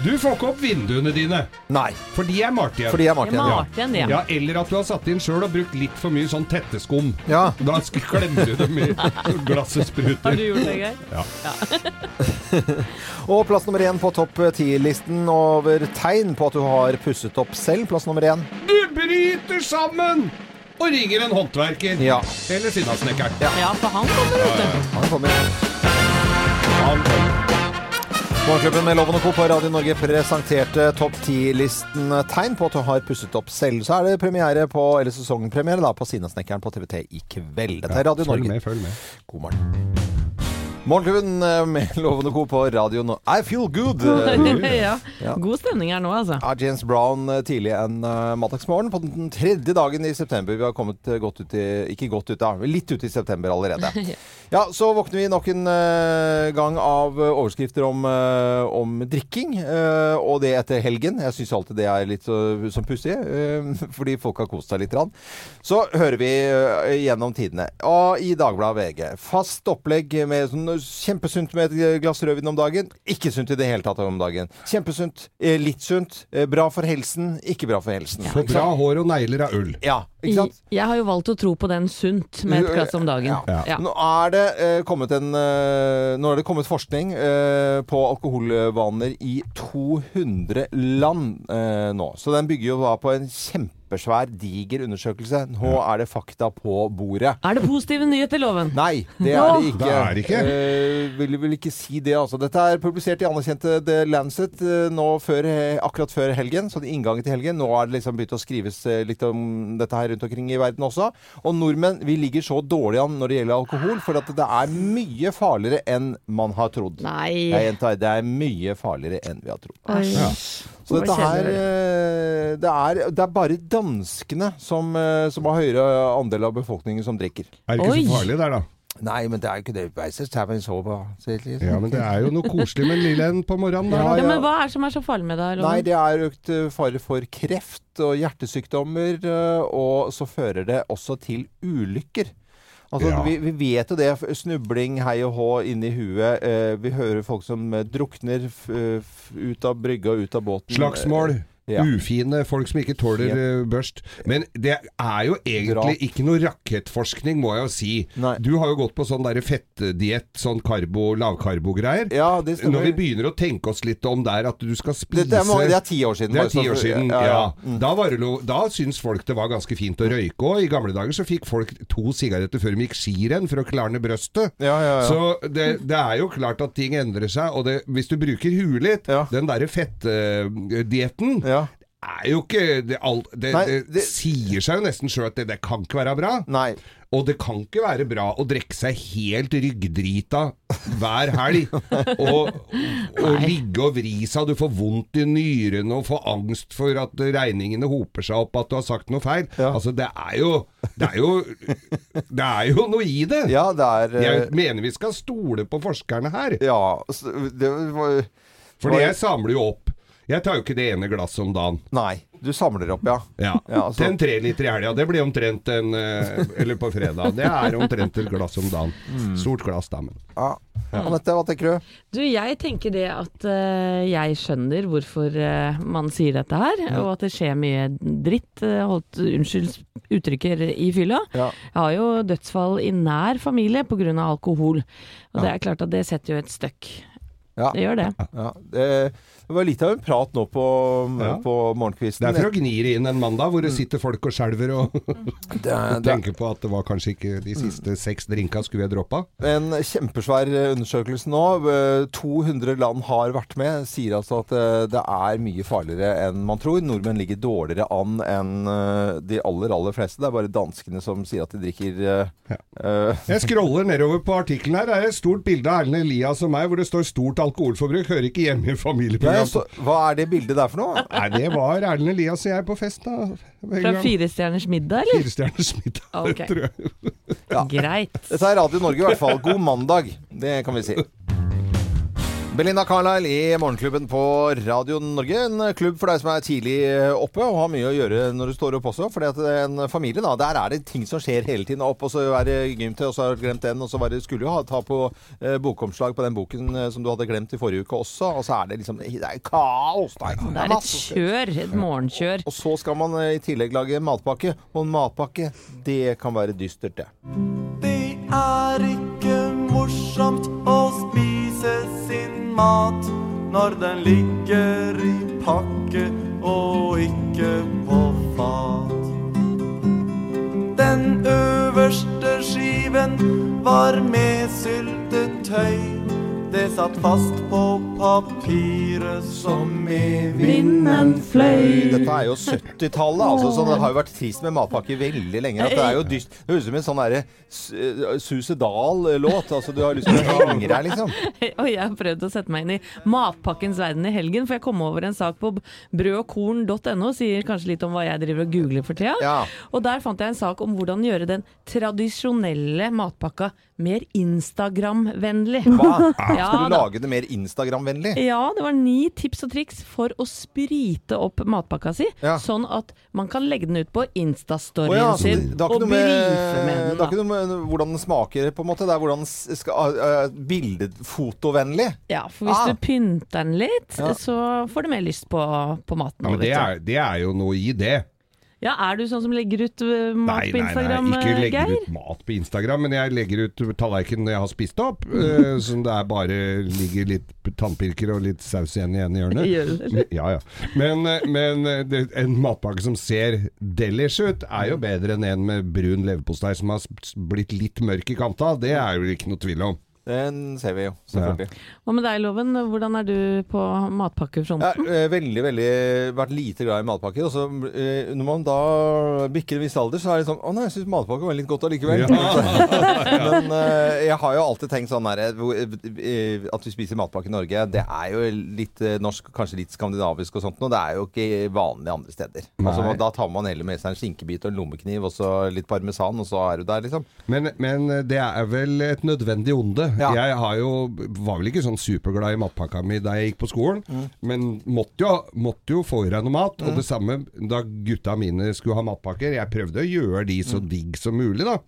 [SPEAKER 2] Du får ikke opp vinduene dine,
[SPEAKER 1] Nei,
[SPEAKER 2] for de er malt igjen.
[SPEAKER 1] fordi jeg er
[SPEAKER 4] Jeg
[SPEAKER 1] Martin. Ja.
[SPEAKER 4] malte igjen det.
[SPEAKER 2] Ja, eller at du har satt inn sjøl og brukt litt for mye sånn tetteskum.
[SPEAKER 1] ja.
[SPEAKER 2] Da sk- (laughs) klemmer du dem i glasset
[SPEAKER 4] Har
[SPEAKER 2] spruter.
[SPEAKER 4] du gjort det, Geir?
[SPEAKER 1] Og plass nummer én på topp ti-listen over tegn på at du har pusset opp selv. Plass nummer én.
[SPEAKER 2] Du bryter sammen og ringer en håndverker.
[SPEAKER 1] Ja.
[SPEAKER 2] Eller sinnasnekkeren.
[SPEAKER 4] Ja, for han kommer, vet du.
[SPEAKER 1] Han kommer. Morgenklubben med Loven og Co. på Radio Norge presenterte topp ti-listen tegn på at du har pusset opp selv. Så er det premiere på, eller sesongpremiere da, på Sinnasnekkeren på TVT i kveld. Dette er Radio
[SPEAKER 2] Følg
[SPEAKER 1] Norge.
[SPEAKER 2] med, følg med.
[SPEAKER 1] God morgen. Morgenklubben eh, med (laughs) Loven og Co. på Radio Norge. I feel good!
[SPEAKER 4] (laughs) ja.
[SPEAKER 1] Ja.
[SPEAKER 4] God stemning her nå, altså.
[SPEAKER 1] er James Brown eh, tidlig en eh, mandagsmorgen på den tredje dagen i september. Vi har kommet eh, godt ut i, ikke godt ut da, litt ut i september allerede. Ja, så våkner vi nok en eh, gang av eh, overskrifter om, eh, om drikking, eh, og det etter helgen. Jeg syns alltid det er litt så, som pussig, eh, (laughs) fordi folk har kost seg litt. Rann. Så hører vi eh, gjennom tidene. Og i Dagbladet VG. Fast opplegg med sånn kjempesunt med et glass rødvin om dagen. Ikke sunt i det hele tatt om dagen. Kjempesunt. eh, Litt sunt. eh, Bra for helsen. Ikke bra for helsen.
[SPEAKER 2] Så bra hår og negler av ull.
[SPEAKER 1] Ja, ikke sant?
[SPEAKER 4] Jeg har jo valgt å tro på den sunt med et glass om dagen.
[SPEAKER 2] Ja.
[SPEAKER 4] Ja.
[SPEAKER 1] Nå er det eh, kommet en eh, Nå er det kommet forskning eh, på alkoholvaner i 200 land eh, nå. Så den bygger jo da på en kjempesvær, diger undersøkelse. Nå er det fakta på bordet.
[SPEAKER 4] Er det positive nyheter, Loven?
[SPEAKER 1] Nei, det er det ikke.
[SPEAKER 2] Det er det ikke.
[SPEAKER 1] Eh, vil vel ikke si det, altså. Dette er publisert i anerkjente The Lancet eh, nå før, eh, akkurat før helgen, så det er inngangen til helgen. Nå er det liksom begynt å skrives eh, litt om dette her rundt omkring i verden også. Og nordmenn, vi ligger så dårlig an når det gjelder alkohol, for at det er mye farligere enn man har trodd. Jeg
[SPEAKER 4] Nei.
[SPEAKER 1] gjentar, det er mye farligere enn vi har trodd.
[SPEAKER 2] Ja.
[SPEAKER 1] Så
[SPEAKER 5] Nå
[SPEAKER 1] dette her
[SPEAKER 5] kjenner
[SPEAKER 1] eh, det er, det er bare danskene som, eh, som har høyere andel av befolkningen som drikker.
[SPEAKER 2] Er det ikke
[SPEAKER 4] Oi.
[SPEAKER 2] så farlig der, da?
[SPEAKER 1] Nei, men det er jo ikke det. Beiser tar en sove.
[SPEAKER 2] Ja, men det er jo noe koselig med en lille en på morgenen
[SPEAKER 1] Ja,
[SPEAKER 2] der, da.
[SPEAKER 4] Ja, men hva er det som er så farlig med det, Loven?
[SPEAKER 1] Nei, det er økt eh, fare for kreft og hjertesykdommer, eh, og så fører det også til ulykker. Altså,
[SPEAKER 2] Ja.
[SPEAKER 1] vi, vi vet jo det. f- Snubling, hei og hå inni huet. eh, vi hører folk som eh, drukner f, f, ut av brygga, ut av båten.
[SPEAKER 2] Slagsmål.
[SPEAKER 1] Ja.
[SPEAKER 2] Ufine folk som ikke tåler eh, børst. Men det er jo egentlig
[SPEAKER 1] Drap.
[SPEAKER 2] ikke noe rakettforskning, må jeg jo si.
[SPEAKER 1] Nei.
[SPEAKER 2] Du har jo gått på sånn derre fettdiett, sånn karbo, lavkarbo-greier.
[SPEAKER 1] Ja, det
[SPEAKER 2] Når vi
[SPEAKER 1] stemmer.
[SPEAKER 2] begynner å tenke oss litt om der at du skal spise
[SPEAKER 1] Dette er, mange, det er ti år siden.
[SPEAKER 2] Det er
[SPEAKER 1] bare så
[SPEAKER 2] ti år
[SPEAKER 1] for- Mm.
[SPEAKER 2] siden, ja. Da, var det lo, da syns folk det var ganske fint å røyke òg. I gamle dager så fikk folk to sigaretter før de gikk skirenn for å klarne brøstet.
[SPEAKER 1] Ja, ja, ja.
[SPEAKER 2] Så det, det er jo klart at ting endrer seg. Og det, hvis du bruker huet litt,
[SPEAKER 1] Ja.
[SPEAKER 2] den derre fettdietten
[SPEAKER 1] ja.
[SPEAKER 2] er jo ikke det, alt, det,
[SPEAKER 1] Nei,
[SPEAKER 2] det,
[SPEAKER 1] det-
[SPEAKER 2] sier seg jo nesten sjøl at det, det kan ikke være bra.
[SPEAKER 1] Nei.
[SPEAKER 2] Og det kan ikke være bra å drikke seg helt ryggdrita hver helg. Og, og ligge og vri seg. Du får vondt i nyrene og får angst for at regningene hoper seg opp, at du har sagt noe feil.
[SPEAKER 1] Ja.
[SPEAKER 2] Altså, det er jo Det er jo, det er jo noe i det.
[SPEAKER 1] Ja, det er eh,
[SPEAKER 2] Jeg mener vi skal stole på forskerne her.
[SPEAKER 1] Ja, s- det var
[SPEAKER 2] Fordi jeg samler jo opp. Jeg tar jo ikke det ene glasset om dagen.
[SPEAKER 1] Nei. Du samler opp, ja.
[SPEAKER 2] Ja.
[SPEAKER 1] Ja, altså-
[SPEAKER 2] Den tre liter i helga, det blir omtrent en eh, Eller på fredag. Det er omtrent et glass om dagen.
[SPEAKER 1] Mm.
[SPEAKER 2] Stort glass, da, men.
[SPEAKER 1] ja. Anette, hva tenker du?
[SPEAKER 4] Du, jeg tenker det at eh, jeg skjønner hvorfor eh, man sier dette her, og at det skjer mye dritt, eh, holdt, unnskyld uttrykker, i fylla.
[SPEAKER 1] Ja.
[SPEAKER 4] Jeg har jo dødsfall i nær familie pga. alkohol, og det er klart at det setter jo et støkk.
[SPEAKER 1] Ja.
[SPEAKER 4] Det gjør det.
[SPEAKER 1] Ja, det, det var litt av en prat nå på,
[SPEAKER 2] Ja.
[SPEAKER 1] på morgenkvisten.
[SPEAKER 2] Det er for å gni det inn en mandag hvor det sitter folk og skjelver og
[SPEAKER 1] Det er- Mm. Mm. det er
[SPEAKER 2] tenker på at det var kanskje ikke de siste seks drinka skulle jeg droppa.
[SPEAKER 1] en kjempesvær undersøkelse nå. Eh, 200 land har vært med. Sier altså at eh, det er mye farligere enn man tror. Nordmenn ligger dårligere an enn eh, de aller, aller fleste. Det er bare danskene som sier at de drikker eh, eh,
[SPEAKER 2] Jeg scroller nedover på artikkelen her. Det er et stort bilde av Erlend Elias og meg hvor det står 'stort alkoholforbruk'. Hører ikke hjemme
[SPEAKER 1] ja,
[SPEAKER 2] i familieprogram.
[SPEAKER 1] så, Hva er det bildet der for noe?
[SPEAKER 2] Nei, det var Erlend Elias og jeg på fest, da.
[SPEAKER 4] Fra Firestjerners middag, eller?
[SPEAKER 2] Firestjerners middag,
[SPEAKER 4] Ok.
[SPEAKER 2] tror jeg.
[SPEAKER 4] Greit.
[SPEAKER 1] Dette er Radio Norge i hvert fall. God mandag, det kan vi si. Belinda Carlisle i Morgenklubben på Radio Norge. En klubb for deg som er tidlig oppe og har mye å gjøre når du står opp også. For en familie, da, der er det ting som skjer hele tiden. Opp, og så er det gymtøy, og så har du glemt den. Og så var det, skulle du ha, ta på eh, bokomslag på den boken eh, som du hadde glemt i forrige uke også. Og så er det liksom Det er kaos! Det er,
[SPEAKER 4] Det er et kjør, et morgenkjør.
[SPEAKER 1] Og så skal man eh, i tillegg lage matpakke. Og en matpakke, det kan være dystert, det.
[SPEAKER 6] Det er ikke morsomt å spise sin mat når den ligger i pakke og ikke på fat. Den øverste skiven var med syltetøy. Det satt fast på papiret som i vinden
[SPEAKER 4] (laughs)
[SPEAKER 6] fløy.
[SPEAKER 1] Dette er jo 70-tallet, altså, så det har jo vært trist med matpakke veldig lenge. At det er jo dyst. Det høres ut som en sånn derre s- Suicidal-låt. Altså, du har lyst til å henge deg, liksom.
[SPEAKER 4] Og jeg har prøvd å sette meg inn i matpakkens verden i helgen, for jeg kom over en sak på brødogkorn.no, sier kanskje litt om hva jeg driver og googler for tida.
[SPEAKER 1] Ja.
[SPEAKER 4] Og der fant jeg en sak om hvordan gjøre den tradisjonelle matpakka mer Instagram-vennlig.
[SPEAKER 1] Hva?
[SPEAKER 4] Ja,
[SPEAKER 1] Skal du
[SPEAKER 4] da.
[SPEAKER 1] lage det mer Instagram-vennlig?
[SPEAKER 4] Ja, det var ni tips og triks for å sprite opp matpakka si,
[SPEAKER 1] Ja.
[SPEAKER 4] sånn at man kan legge den ut på
[SPEAKER 1] Å
[SPEAKER 4] Instastoryen
[SPEAKER 1] ja, så
[SPEAKER 4] sin
[SPEAKER 1] det det har
[SPEAKER 4] og
[SPEAKER 1] ikke noe
[SPEAKER 4] brife med
[SPEAKER 1] med,
[SPEAKER 4] den.
[SPEAKER 1] det har
[SPEAKER 4] da.
[SPEAKER 1] ikke noe med hvordan den smaker, på en måte. Det er hvordan den s- skal uh, Bildefotovennlig.
[SPEAKER 4] Ja, for hvis
[SPEAKER 1] Ah.
[SPEAKER 4] du pynter den litt,
[SPEAKER 1] Ja.
[SPEAKER 4] så får du mer lyst på, på maten.
[SPEAKER 2] Ja, men
[SPEAKER 4] vet
[SPEAKER 2] det
[SPEAKER 4] du.
[SPEAKER 2] er, det er jo noe i det.
[SPEAKER 4] Ja, er du sånn som legger ut øh, mat på Instagram,
[SPEAKER 2] ikke
[SPEAKER 4] øh,
[SPEAKER 2] legger
[SPEAKER 4] Geir?
[SPEAKER 2] ut mat på Instagram, men jeg legger ut tallerkenen jeg har spist
[SPEAKER 4] (laughs)
[SPEAKER 2] opp. eh, som det er bare ligger litt tannpirker og litt saus igjen i ene
[SPEAKER 4] Gjør
[SPEAKER 2] hjørnet.
[SPEAKER 4] det,
[SPEAKER 2] (laughs) Ja, ja. Men, eh, men eh, det, en matpakke som ser delish ut, er jo bedre enn en med brun leverpostei som har s- blitt litt mørk i kanta. Det er jo ikke noe tvil om.
[SPEAKER 1] Den ser vi jo, selvfølgelig.
[SPEAKER 4] Hva med deg, Loven? Hvordan er du på
[SPEAKER 1] Ja,
[SPEAKER 4] matpakkefronten?
[SPEAKER 1] eh, veldig, veldig vært lite glad i matpakker. Og så eh, når man da bikker en viss alder, så er det sånn Å nei, jeg syns matpakke var litt godt allikevel. (laughs) Men eh, jeg har jo alltid tenkt sånn her eh, hvor- eh, At vi spiser matpakke i Norge, det er jo litt eh, norsk, kanskje litt skandinavisk og sånt noe. Det er jo ikke vanlig andre steder. Altså,
[SPEAKER 2] Nei.
[SPEAKER 1] da tar man heller med seg en skinkebit og en lommekniv og så litt parmesan, og så er du der, liksom.
[SPEAKER 2] Men, men det er vel et nødvendig onde.
[SPEAKER 1] Ja.
[SPEAKER 2] Jeg har jo, var vel ikke sånn superglad i matpakka mi da jeg gikk på skolen,
[SPEAKER 4] Mm.
[SPEAKER 2] men måtte jo, måtte jo få i deg noe mat. Og det samme da gutta mine skulle ha matpakker. Jeg prøvde å gjøre de
[SPEAKER 4] Mm.
[SPEAKER 2] så digg som mulig, da.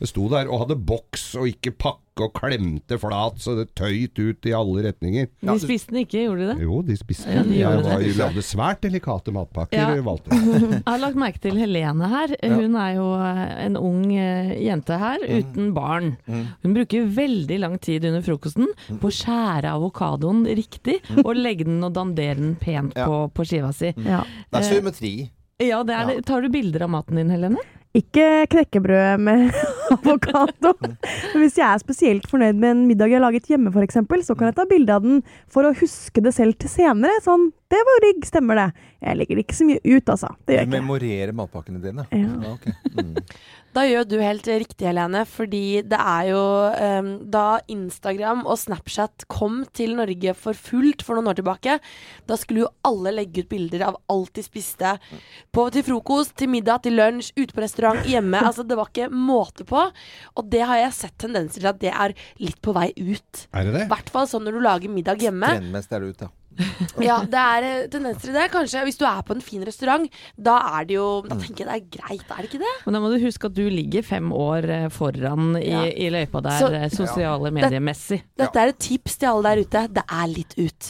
[SPEAKER 2] Jeg sto der og hadde boks og ikke pakke og klemte flat så det tøyt ut i alle retninger.
[SPEAKER 4] De spiste den ikke, gjorde de det?
[SPEAKER 2] Jo, de spiste.
[SPEAKER 4] Ja, de gjorde
[SPEAKER 2] jeg var,
[SPEAKER 1] det.
[SPEAKER 2] lagde svært delikate matpakker.
[SPEAKER 4] Ja.
[SPEAKER 2] Valgte. jeg.
[SPEAKER 4] Jeg har lagt merke til Helene her. Hun er jo eh, en ung eh, jente her,
[SPEAKER 2] Mm.
[SPEAKER 4] uten barn. Hun bruker veldig lang tid under frokosten
[SPEAKER 2] Mm.
[SPEAKER 4] på å skjære avokadoen riktig, og legge den og dandere den pent
[SPEAKER 1] Ja.
[SPEAKER 4] på, på skiva si.
[SPEAKER 5] Ja.
[SPEAKER 1] Det
[SPEAKER 4] Eh,
[SPEAKER 1] er symmetri.
[SPEAKER 4] Ja, det er, det. Tar du bilder av maten din, Helene?
[SPEAKER 5] Ikke knekkebrød med (laughs) avokado. Men Hvis jeg er spesielt fornøyd med en middag jeg har laget hjemme, for eksempel, så kan jeg ta bilde av den for å huske det selv til senere. Sånn, det var digg, stemmer det. Jeg legger det ikke så mye ut, altså. Det
[SPEAKER 1] Du
[SPEAKER 5] gjør jeg ikke.
[SPEAKER 1] memorerer matpakkene dine.
[SPEAKER 5] Ja.
[SPEAKER 1] ok. Mm.
[SPEAKER 3] Da gjør du helt riktig, Helene, fordi det er jo eh, Da Instagram og Snapchat kom til Norge for fullt for noen år tilbake, da skulle jo alle legge ut bilder av alt de spiste. På, til frokost, til middag, til lunsj, ute på restaurant, hjemme. Altså, det var ikke måte på. Og det har jeg sett tendenser til at det er litt på vei ut.
[SPEAKER 2] Er det
[SPEAKER 3] I
[SPEAKER 2] det?
[SPEAKER 3] hvert fall sånn når du lager middag hjemme.
[SPEAKER 1] Trendmest er det ut, ja.
[SPEAKER 3] (laughs) Ja, det er eh, tendenser i det. Kanskje hvis du er på en fin restaurant, da er det jo Da tenker jeg det er greit, er det ikke det?
[SPEAKER 4] Men da må du huske at du ligger fem år eh, foran i,
[SPEAKER 3] Ja.
[SPEAKER 4] i løypa der
[SPEAKER 3] Så-
[SPEAKER 4] eh, sosiale mediemessig.
[SPEAKER 3] Dette er et tips til alle der ute. Det er litt ut.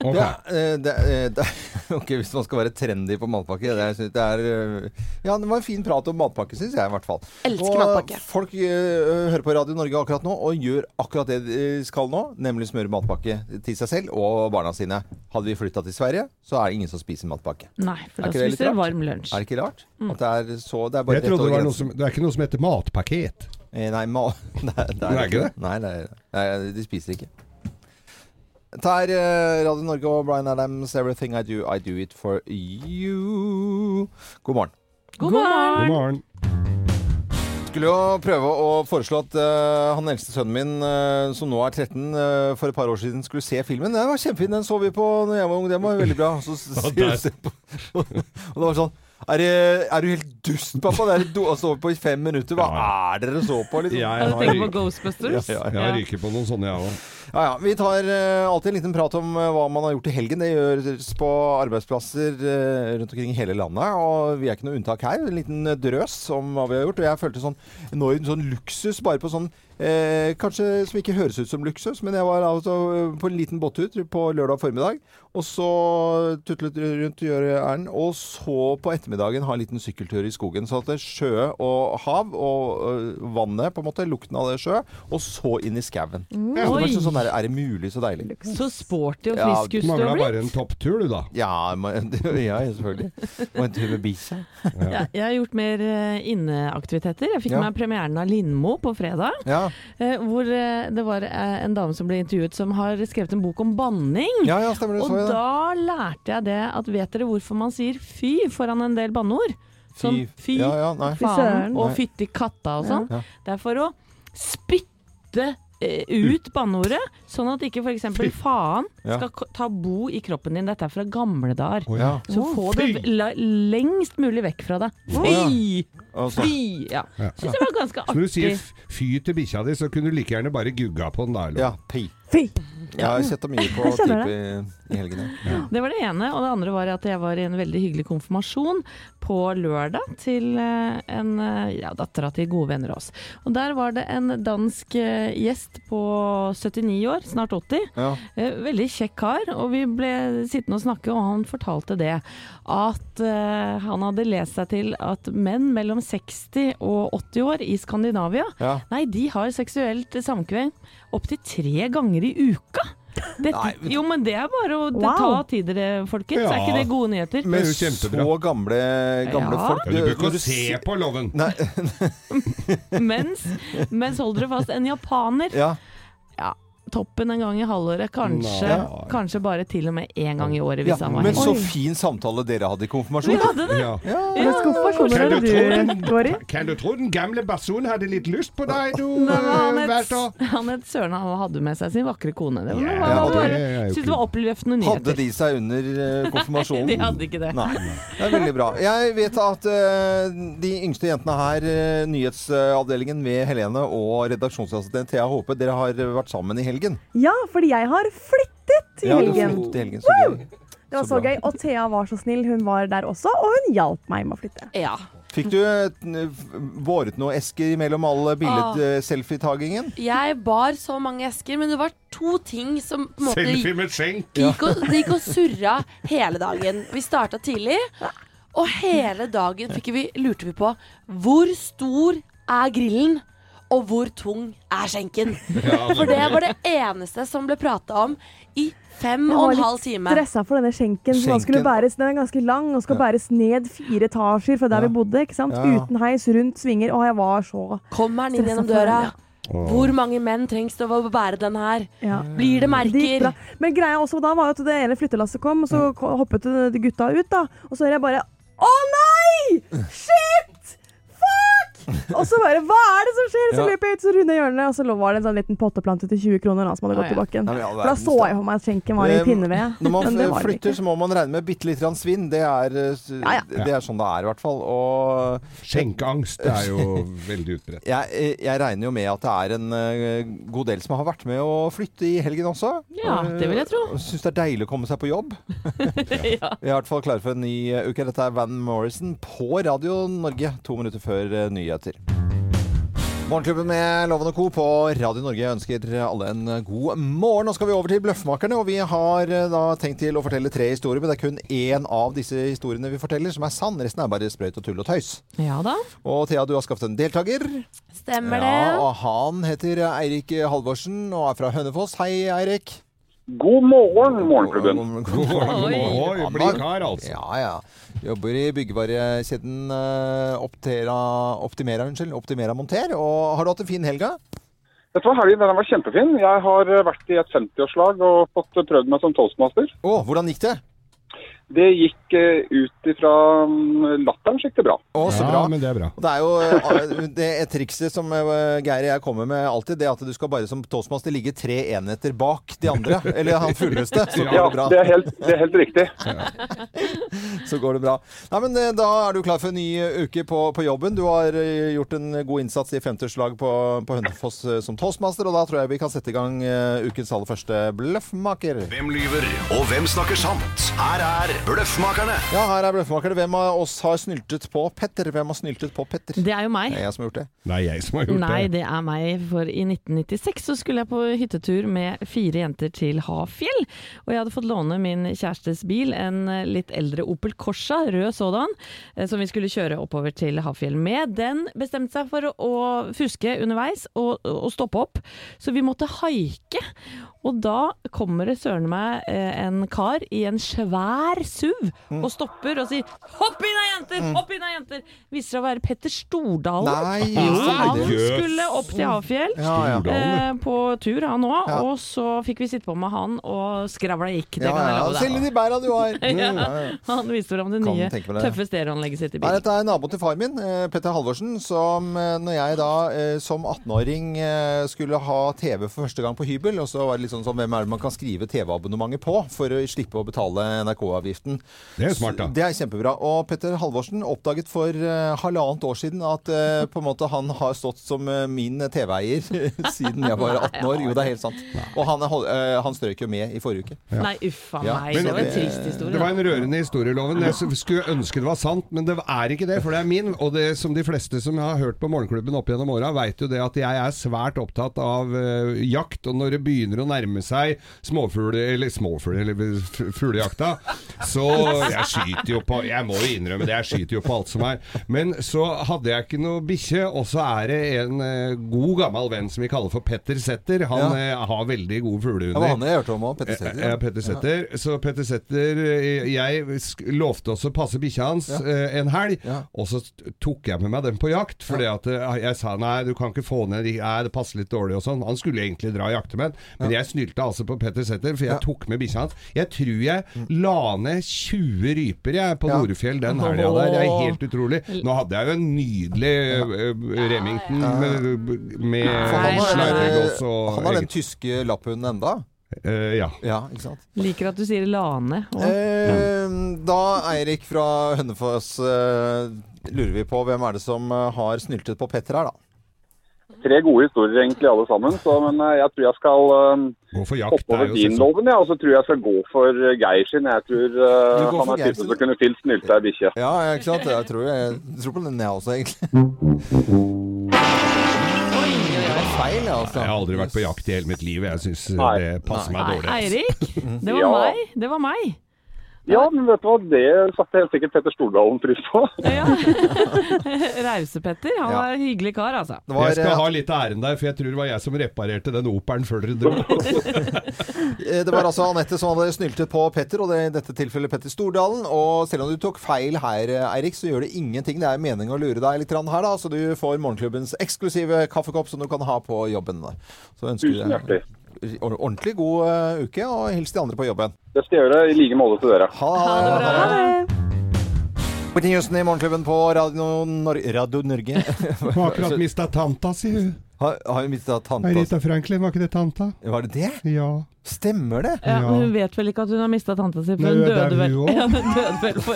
[SPEAKER 2] Ok.
[SPEAKER 1] Ja, eh, det, eh, (laughs) det, ok, Hvis man skal være trendy på matpakke det, er- synes det er, eh, Ja, det var en fin prat om matpakke, syns jeg i hvert fall.
[SPEAKER 3] Elsker
[SPEAKER 1] og,
[SPEAKER 3] matpakke.
[SPEAKER 1] Folk eh, hører på Radio Norge akkurat nå og gjør akkurat det de skal nå, nemlig smøre matpakke til seg selv og barna sine. Hadde vi flytta til Sverige, så er det ingen som spiser matpakke.
[SPEAKER 4] Nei, for
[SPEAKER 1] Er
[SPEAKER 4] da
[SPEAKER 1] ikke det litt
[SPEAKER 4] spiser du
[SPEAKER 1] rart?
[SPEAKER 4] varm lunsj.
[SPEAKER 1] Er det ikke rart?
[SPEAKER 3] Mm.
[SPEAKER 1] At det er så Det er bare
[SPEAKER 2] Jeg
[SPEAKER 1] rett
[SPEAKER 2] trodde
[SPEAKER 1] over
[SPEAKER 2] det var
[SPEAKER 1] grensen.
[SPEAKER 2] noe som Det er ikke noe som heter matpakket.
[SPEAKER 1] Eh, (laughs) Nei, ma det, er, det
[SPEAKER 2] er ikke det?
[SPEAKER 1] Nei, nei, nei, de spiser ikke. Dette er eh, Radio Norge og Brian Adams, 'Everything I Do, I Do It For You'. God morgen.
[SPEAKER 4] God morgen!
[SPEAKER 2] God morgen.
[SPEAKER 1] Skulle jo prøve å foreslå at eh, han eldste sønnen min, eh, som nå er 13, eh, for et par år siden skulle se filmen. Den var kjempefin, den så vi på når jeg var ung. Den var veldig bra.
[SPEAKER 2] (laughs)
[SPEAKER 1] Så, s-
[SPEAKER 2] Ja,
[SPEAKER 1] s-
[SPEAKER 2] der.
[SPEAKER 1] (laughs) se på- og det var sånn er, det- er du helt dust, pappa? Det er du, altså, på i fem minutter. Hva er det dere så på? Liksom?
[SPEAKER 2] Jeg
[SPEAKER 4] Er du tenker på
[SPEAKER 2] har,
[SPEAKER 4] Ghostbusters?
[SPEAKER 1] Ja, ja,
[SPEAKER 2] jeg har ryker på noen sånne, jeg òg.
[SPEAKER 1] Ja, ja. Vi tar eh, alltid en liten prat om eh, hva man har gjort i helgen. Det gjøres på arbeidsplasser eh, rundt omkring i hele landet. Og vi er ikke noe unntak her. En liten eh, drøs om hva vi har gjort. Og jeg følte sånn enorm sånn luksus bare på sånn eh, Kanskje som ikke høres ut som luksus, men jeg var altså eh, på en liten båttur på lørdag formiddag. Og så tutlet rundt og gjøre ærend. Og så på ettermiddagen ha en liten sykkeltur i skogen. Så at det er sjø og hav og eh, vannet, på en måte, lukten av det sjø, og så inn i skauen. Ja, så det var ikke sånn der, er det mulig så deilig?
[SPEAKER 4] Så sporty og
[SPEAKER 1] Ja,
[SPEAKER 4] frisk ut du
[SPEAKER 2] Mangla
[SPEAKER 4] har blitt.
[SPEAKER 2] bare en topptur, du, da.
[SPEAKER 1] Ja, men- ja selvfølgelig. Og en tur med bikkja.
[SPEAKER 4] (laughs) Ja, jeg har gjort mer eh, inneaktiviteter. Jeg fikk
[SPEAKER 1] Ja.
[SPEAKER 4] meg premieren av Lindmo på fredag.
[SPEAKER 1] Ja.
[SPEAKER 4] eh, Hvor eh, det var eh, en dame som ble intervjuet som har skrevet en bok om banning.
[SPEAKER 1] ja, ja, stemmer det.
[SPEAKER 4] Og
[SPEAKER 1] Så jeg det.
[SPEAKER 4] da lærte jeg det at vet dere hvorfor man sier fy foran en del banneord? Sånn fy,
[SPEAKER 1] Ja, ja, nei.
[SPEAKER 4] faen
[SPEAKER 5] søren.
[SPEAKER 4] og fytti katta og sånn.
[SPEAKER 1] Ja.
[SPEAKER 4] Det er for å spytte eh, ut banneordet, sånn at ikke f.eks. faen
[SPEAKER 1] Ja.
[SPEAKER 4] skal ko- ta bo i kroppen din. Dette er fra gamle dager.
[SPEAKER 2] Å,
[SPEAKER 1] Ja.
[SPEAKER 4] Så
[SPEAKER 2] Å,
[SPEAKER 4] få
[SPEAKER 2] fy!
[SPEAKER 4] det v- la, lengst mulig vekk fra deg. Fy!
[SPEAKER 1] Og så-
[SPEAKER 4] Fy! Ja.
[SPEAKER 2] Ja.
[SPEAKER 4] Syns det var ganske
[SPEAKER 2] Så når du sier
[SPEAKER 4] artig.
[SPEAKER 2] f- fy til bikkja di, så kunne du like gjerne bare gugga på den der. eller?
[SPEAKER 1] ja, pi.
[SPEAKER 5] Fy.
[SPEAKER 1] Jeg har sett det mye på
[SPEAKER 5] Jeg skjønner
[SPEAKER 1] type i helgene.
[SPEAKER 4] Det var det ene. Og det andre var at jeg var i en veldig hyggelig konfirmasjon på lørdag til eh, en eh, ja, dattera til gode venner av oss. Og der var det en dansk eh, gjest på 79 år, snart 80.
[SPEAKER 1] Ja.
[SPEAKER 4] Eh, Veldig kjekk kar, og vi ble sittende og snakke, og han fortalte det. At eh, han hadde lest seg til at menn mellom 60 og 80 år i Skandinavia,
[SPEAKER 1] Ja.
[SPEAKER 4] nei, de har seksuelt samkvem opptil tre ganger i uka. Dette, jo, men det er bare å
[SPEAKER 5] Wow.
[SPEAKER 4] ta tid dere, folkens. Er
[SPEAKER 2] Ja.
[SPEAKER 4] ikke det gode nyheter?
[SPEAKER 1] Men
[SPEAKER 2] Det er jo kjempebra.
[SPEAKER 1] så gamle, gamle
[SPEAKER 4] Ja.
[SPEAKER 1] folk
[SPEAKER 2] Ja, du bør
[SPEAKER 1] når
[SPEAKER 2] ikke se på loven!
[SPEAKER 1] Nei,
[SPEAKER 4] Mens, mens hold dere fast, en japaner
[SPEAKER 1] ja.
[SPEAKER 4] toppen en gang i halvåret, kanskje,
[SPEAKER 2] Nei.
[SPEAKER 4] kanskje bare til og med én gang i året.
[SPEAKER 1] ja.
[SPEAKER 4] Hvis han var
[SPEAKER 1] Men så
[SPEAKER 4] heldig.
[SPEAKER 1] fin samtale dere hadde i
[SPEAKER 4] Vi
[SPEAKER 1] konfirmasjonen.
[SPEAKER 4] hadde det!
[SPEAKER 2] Ja.
[SPEAKER 5] Hvilken konfirmasjon er det du går i?
[SPEAKER 2] Kan du tro den gamle personen hadde litt lyst på deg, du?
[SPEAKER 4] Nei, men han
[SPEAKER 2] eh,
[SPEAKER 4] het,
[SPEAKER 2] Walter?
[SPEAKER 4] han het Søren, han hadde med seg sin vakre kone. Det var,
[SPEAKER 2] Ja,
[SPEAKER 4] var, var,
[SPEAKER 1] det
[SPEAKER 4] var,
[SPEAKER 2] er jo
[SPEAKER 4] synes det var oppløftende
[SPEAKER 1] Hadde
[SPEAKER 4] nyheter.
[SPEAKER 1] de seg under eh, konfirmasjonen?
[SPEAKER 4] (laughs) De hadde ikke det.
[SPEAKER 1] Nei. Det er veldig bra. Jeg vet at eh, de yngste jentene her, eh, nyhetsavdelingen med Helene og redaksjonsassistent Thea Håpe, dere har eh, vært sammen i helgen.
[SPEAKER 5] Ja, fordi jeg har flyttet i
[SPEAKER 1] Ja, du
[SPEAKER 5] helgen.
[SPEAKER 1] flyttet i helgen så gøy.
[SPEAKER 5] Det var
[SPEAKER 1] Så
[SPEAKER 5] så
[SPEAKER 1] bra.
[SPEAKER 5] gøy. Og Thea var så snill. Hun var der også, og hun hjalp meg med å flytte.
[SPEAKER 3] Ja.
[SPEAKER 1] Fikk du eh, båret noen esker mellom eh, all
[SPEAKER 5] Ah.
[SPEAKER 1] billedselfietagingen?
[SPEAKER 3] Jeg bar så mange esker, men det var to ting som på en måte
[SPEAKER 2] Selfie med
[SPEAKER 4] (laughs)
[SPEAKER 2] skjenk!
[SPEAKER 3] Det gikk og, det gikk og surra hele dagen. Vi starta tidlig, og hele dagen fikk vi, lurte vi på hvor stor er grillen, og hvor tung er skjenken. For det var det eneste som ble prata om i fem
[SPEAKER 5] Jeg
[SPEAKER 3] og
[SPEAKER 5] var
[SPEAKER 3] en
[SPEAKER 5] litt
[SPEAKER 3] halv time.
[SPEAKER 5] Stressa for denne skjenken som da skulle
[SPEAKER 1] Skjenken.
[SPEAKER 5] bæres. Den er ganske lang og skal bæres ned fire etasjer fra der
[SPEAKER 1] Ja.
[SPEAKER 5] vi bodde. ikke sant?
[SPEAKER 1] Ja, ja.
[SPEAKER 5] Uten heis, rundt svinger. Og jeg var så
[SPEAKER 3] Kommer den inn gjennom
[SPEAKER 5] Stressa for
[SPEAKER 3] døra?
[SPEAKER 5] den,
[SPEAKER 3] Hvor mange menn trengs det å bære den her?
[SPEAKER 5] ja.
[SPEAKER 3] Blir det
[SPEAKER 5] Det gikk
[SPEAKER 3] merker?
[SPEAKER 5] bra. Men greia også da var jo at det ene flyttelasset kom, og så ko- hoppet de gutta ut, da. Og så hører jeg bare Å nei! Shit! Fuck! Og så bare Hva er det som skjer? Så
[SPEAKER 1] Ja.
[SPEAKER 5] løper jeg ut, så runder jeg hjørnet, og så lå- var det en sånn liten potteplante til 20 kroner da, som hadde
[SPEAKER 4] Å,
[SPEAKER 5] gått
[SPEAKER 4] ja.
[SPEAKER 5] i bakken.
[SPEAKER 1] Nei, men i all
[SPEAKER 5] For da
[SPEAKER 1] verdens
[SPEAKER 5] så
[SPEAKER 1] da.
[SPEAKER 5] jeg for meg at skjenken var i
[SPEAKER 1] Eh,
[SPEAKER 5] pinneved.
[SPEAKER 1] Når man
[SPEAKER 5] (laughs) Men det var det
[SPEAKER 1] flytter,
[SPEAKER 5] ikke.
[SPEAKER 1] så må man regne med bitte litt grann svinn. Det er, eh, s-
[SPEAKER 5] Ja, ja.
[SPEAKER 1] det er sånn det er, i hvert fall. Og
[SPEAKER 2] Skjenkeangst er jo veldig utbredt.
[SPEAKER 1] jeg, eh, jeg regner jo med at det er en eh, god del som har vært med å flytte i helgen også.
[SPEAKER 4] Ja, det vil jeg tro.
[SPEAKER 1] Syns det er deilig å komme seg på jobb.
[SPEAKER 4] ja.
[SPEAKER 1] Vi er i hvert fall klare for en ny eh, uke. Dette er Van Morrison på Radio Norge to minutter før eh, nyheter. Morgenklubben med Loven og Co. på Radio Norge ønsker alle en eh, god morgen. Nå skal vi over til Bløffmakerne, og vi har eh, da tenkt til å fortelle tre historier. Men det er kun én av disse historiene vi forteller som er sann. Resten er bare sprøyt og tull og tøys.
[SPEAKER 4] ja da.
[SPEAKER 1] Og Thea, du har skaffet en deltaker.
[SPEAKER 3] Stemmer
[SPEAKER 1] Ja,
[SPEAKER 3] det?
[SPEAKER 1] og han heter Eirik Halvorsen og er fra Hønefoss. Hei, Eirik.
[SPEAKER 7] God morgen, morgenklubben.
[SPEAKER 2] God morgen,
[SPEAKER 4] Oi.
[SPEAKER 2] god morgen. Bli kar, altså.
[SPEAKER 1] Ja, ja. Jobber i byggevarekjeden eh, Optera, Optimera, unnskyld, Optimera Monter. Og har du hatt en fin helg? da?
[SPEAKER 7] Dette var helgen, den har vært kjempefin. Jeg har eh, vært i et 50-årslag og fått eh, prøvd meg som toastmaster.
[SPEAKER 1] Å, hvordan gikk det?
[SPEAKER 7] Det gikk eh, ut ifra mm, latteren, så gikk det bra.
[SPEAKER 1] Å, så
[SPEAKER 2] Ja,
[SPEAKER 1] bra.
[SPEAKER 2] men det er bra.
[SPEAKER 1] Og Det er jo eh, det er trikset som eh, Geir og jeg kommer med alltid, det er at du skal bare som toastmaster ligge tre enheter bak de
[SPEAKER 2] (laughs)
[SPEAKER 1] andre. Eller han fulleste. Så går
[SPEAKER 7] Ja,
[SPEAKER 1] det bra.
[SPEAKER 7] det er helt, det er helt riktig.
[SPEAKER 1] (laughs) Så går det bra. Nei, men eh, Da er du klar for en ny eh, uke på, på jobben. Du har eh, gjort en god innsats i femterslag på, på Hønefoss eh, som toastmaster, og da tror jeg vi kan sette i gang eh, ukens aller første bløffmaker.
[SPEAKER 8] Hvem lyver, og hvem snakker sant? Her er Bløffmakerne.
[SPEAKER 1] Ja, her er bløffmakerne. Hvem av oss har snyltet på Petter? Hvem har snyltet på Petter?
[SPEAKER 4] Det er jo meg.
[SPEAKER 1] Det er jeg som har gjort det.
[SPEAKER 2] Det er jeg som har gjort
[SPEAKER 4] Nei,
[SPEAKER 2] det.
[SPEAKER 4] det er meg, for i 1996 så skulle jeg på hyttetur med fire jenter til Hafjell. Og jeg hadde fått låne min kjærestes bil, en eh, litt eldre Opel Corsa, rød sådan, eh, som vi skulle kjøre oppover til Hafjell med. Den bestemte seg for å- å fuske underveis og, og stoppe opp, så vi måtte haike. Og da kommer det søren meg eh, en kar i en svær SUV
[SPEAKER 2] Mm.
[SPEAKER 4] og stopper og sier 'hopp inn da, jenter'! Hopp inn da, jenter! Viser seg å være Petter Stordalen.
[SPEAKER 1] Nei,
[SPEAKER 4] Jo,
[SPEAKER 1] sa
[SPEAKER 4] han
[SPEAKER 1] du det?
[SPEAKER 2] Jøss.
[SPEAKER 4] skulle opp til Havfjell.
[SPEAKER 1] Ja, ja.
[SPEAKER 4] Eh, på tur, han òg.
[SPEAKER 1] Ja.
[SPEAKER 4] Og så fikk vi sitte på med han, og skravla gikk. Det
[SPEAKER 1] Ja,
[SPEAKER 4] kan jeg
[SPEAKER 1] ja.
[SPEAKER 4] love
[SPEAKER 1] Selge
[SPEAKER 4] deg.
[SPEAKER 1] de bæra du
[SPEAKER 4] (laughs)
[SPEAKER 1] har. Ja, ja.
[SPEAKER 4] Han viste fram det
[SPEAKER 1] Kan
[SPEAKER 4] nye,
[SPEAKER 1] tenke meg det.
[SPEAKER 4] tøffe stereoanlegget sitt i
[SPEAKER 1] Nei,
[SPEAKER 4] bilen.
[SPEAKER 1] dette er naboen til far min, eh, Petter Halvorsen, som eh, når jeg da eh, som 18-åring eh, skulle ha TV for første gang på hybel, og så var det litt sånn som hvem er det man kan skrive TV-abonnementet på for å slippe å betale NRK-avgiften.
[SPEAKER 2] Det er smart, da.
[SPEAKER 1] Det er kjempebra. Og Petter Halvorsen oppdaget for eh, halvannet år siden at eh, på en måte han har stått som eh, min TV-eier (laughs) siden jeg var 18 år. Jo, det er helt sant. Og han, er hol- eh, han strøk jo med i forrige uke.
[SPEAKER 4] Nei, uff a
[SPEAKER 1] Ja.
[SPEAKER 4] meg.
[SPEAKER 2] Men
[SPEAKER 4] det var en
[SPEAKER 2] det-
[SPEAKER 4] trist historie.
[SPEAKER 2] Det var
[SPEAKER 4] da.
[SPEAKER 2] en rørende historieloven. Jeg s- skulle ønske det var sant, men det er ikke det, for det er min. Og det som de fleste som har hørt på Morgenklubben opp gjennom åra, veit jo det at jeg er svært opptatt av eh, jakt. Og når det begynner å nærme seg småfugl... Eller småfugl... Eller f- fuglejakta, så Jeg skyter jo på Jeg må jo innrømme det, jeg skyter jo på alt som er. Men så hadde jeg ikke noe bikkje, og så er det en eh, god gammel venn som vi kaller for Petter Sæther. Han
[SPEAKER 1] Ja.
[SPEAKER 2] eh, har veldig gode
[SPEAKER 1] Det var
[SPEAKER 2] fuglehunder.
[SPEAKER 1] han jeg hørte om òg, Petter
[SPEAKER 2] Ja,
[SPEAKER 1] Sæther.
[SPEAKER 2] ja, Eh, Petter Sæther. Så Petter Sæther eh, Jeg sk- lovte også å passe bikkja hans eh, en helg,
[SPEAKER 1] Ja.
[SPEAKER 2] og så t- tok jeg med meg den på jakt. Fordi at eh, jeg sa nei, du kan ikke få ned de Nei, det passer litt dårlig og sånn. Han skulle egentlig dra og jakte med den, men jeg snylte altså på Petter Sæther, for jeg
[SPEAKER 1] Ja. Mm.
[SPEAKER 2] tok med bikkja hans. Jeg tror jeg la ned 20 ryper jeg på
[SPEAKER 1] Ja.
[SPEAKER 2] Nordfjell den helga der. Det er helt utrolig. Nå hadde jeg jo en nydelig eh, Remington med, med
[SPEAKER 1] For han har, eh,
[SPEAKER 2] sladregås og
[SPEAKER 1] han har den tyske lapphunden enda.
[SPEAKER 2] Eh, Ja.
[SPEAKER 1] Ja, ikke sant?
[SPEAKER 4] Liker at du sier lane. Og
[SPEAKER 1] Eh, da, Eirik fra Hønefoss, eh, lurer vi på hvem er det som eh, har snyltet på Petter her, da?
[SPEAKER 7] Tre gode historier egentlig alle sammen, så, men eh, jeg tror jeg skal eh,
[SPEAKER 2] Gå for jakt.
[SPEAKER 7] hoppe
[SPEAKER 2] det er
[SPEAKER 7] over
[SPEAKER 2] jo
[SPEAKER 7] din
[SPEAKER 2] sesong.
[SPEAKER 7] loven, ja, og så tror jeg jeg skal gå for eh, Geir sin. Jeg tror eh,
[SPEAKER 1] Du går for
[SPEAKER 7] han er
[SPEAKER 1] Geir
[SPEAKER 7] typen
[SPEAKER 1] sin?
[SPEAKER 7] som kunne fylt snylte ei bikkje.
[SPEAKER 1] Ja, ja, ikke sant? Jeg tror, jeg, tror på den, jeg også, egentlig. Det var feil, ja, altså.
[SPEAKER 2] Jeg har aldri vært på jakt i hele mitt liv. Jeg syns
[SPEAKER 7] Nei.
[SPEAKER 2] det passer meg
[SPEAKER 4] Nei,
[SPEAKER 2] dårlig. altså.
[SPEAKER 4] Eirik, det var
[SPEAKER 7] Ja.
[SPEAKER 4] meg. Det var meg.
[SPEAKER 7] Ja, men vet du hva, det satte helt sikkert Petter Stordalen pris på.
[SPEAKER 4] Ja. Rause-Petter. Han
[SPEAKER 1] Ja.
[SPEAKER 4] var en hyggelig kar, altså.
[SPEAKER 1] Det var,
[SPEAKER 2] jeg skal
[SPEAKER 1] eh,
[SPEAKER 2] ha litt av æren der, for jeg tror det var jeg som reparerte den operen før dere dro.
[SPEAKER 1] Eh, Det var altså Anette som hadde snyltet på Petter, og det, i dette tilfellet Petter Stordalen. Og selv om du tok feil her, eh, Eirik, så gjør det ingenting. Det er meningen å lure deg litt grann her, da. Så du får morgenklubbens eksklusive kaffekopp som du kan ha på jobben. Så ønsker
[SPEAKER 7] Tusen
[SPEAKER 1] vi
[SPEAKER 7] hjertelig.
[SPEAKER 1] deg or- ordentlig god eh, uke, og hils de andre på jobben.
[SPEAKER 7] Det skal jeg gjøre i like måte til dere.
[SPEAKER 1] Ha det.
[SPEAKER 5] Ha det.
[SPEAKER 1] Nyheten i Morgenklubben på Radio, Nor Radio
[SPEAKER 4] (laughs)
[SPEAKER 1] Norge.
[SPEAKER 2] Hun har akkurat mista tanta si, hun.
[SPEAKER 1] Har, har hun mista tanta
[SPEAKER 2] Rita Franklin, var ikke det tanta?
[SPEAKER 1] Var det det?
[SPEAKER 2] Ja.
[SPEAKER 1] Stemmer det?
[SPEAKER 4] Ja,
[SPEAKER 2] Ja.
[SPEAKER 4] men hun vet vel ikke at hun har mista tanta si, for
[SPEAKER 2] Nei,
[SPEAKER 4] hun
[SPEAKER 2] det er
[SPEAKER 4] døde vel,
[SPEAKER 2] vi jo.
[SPEAKER 4] (laughs) ja, hun døde vel for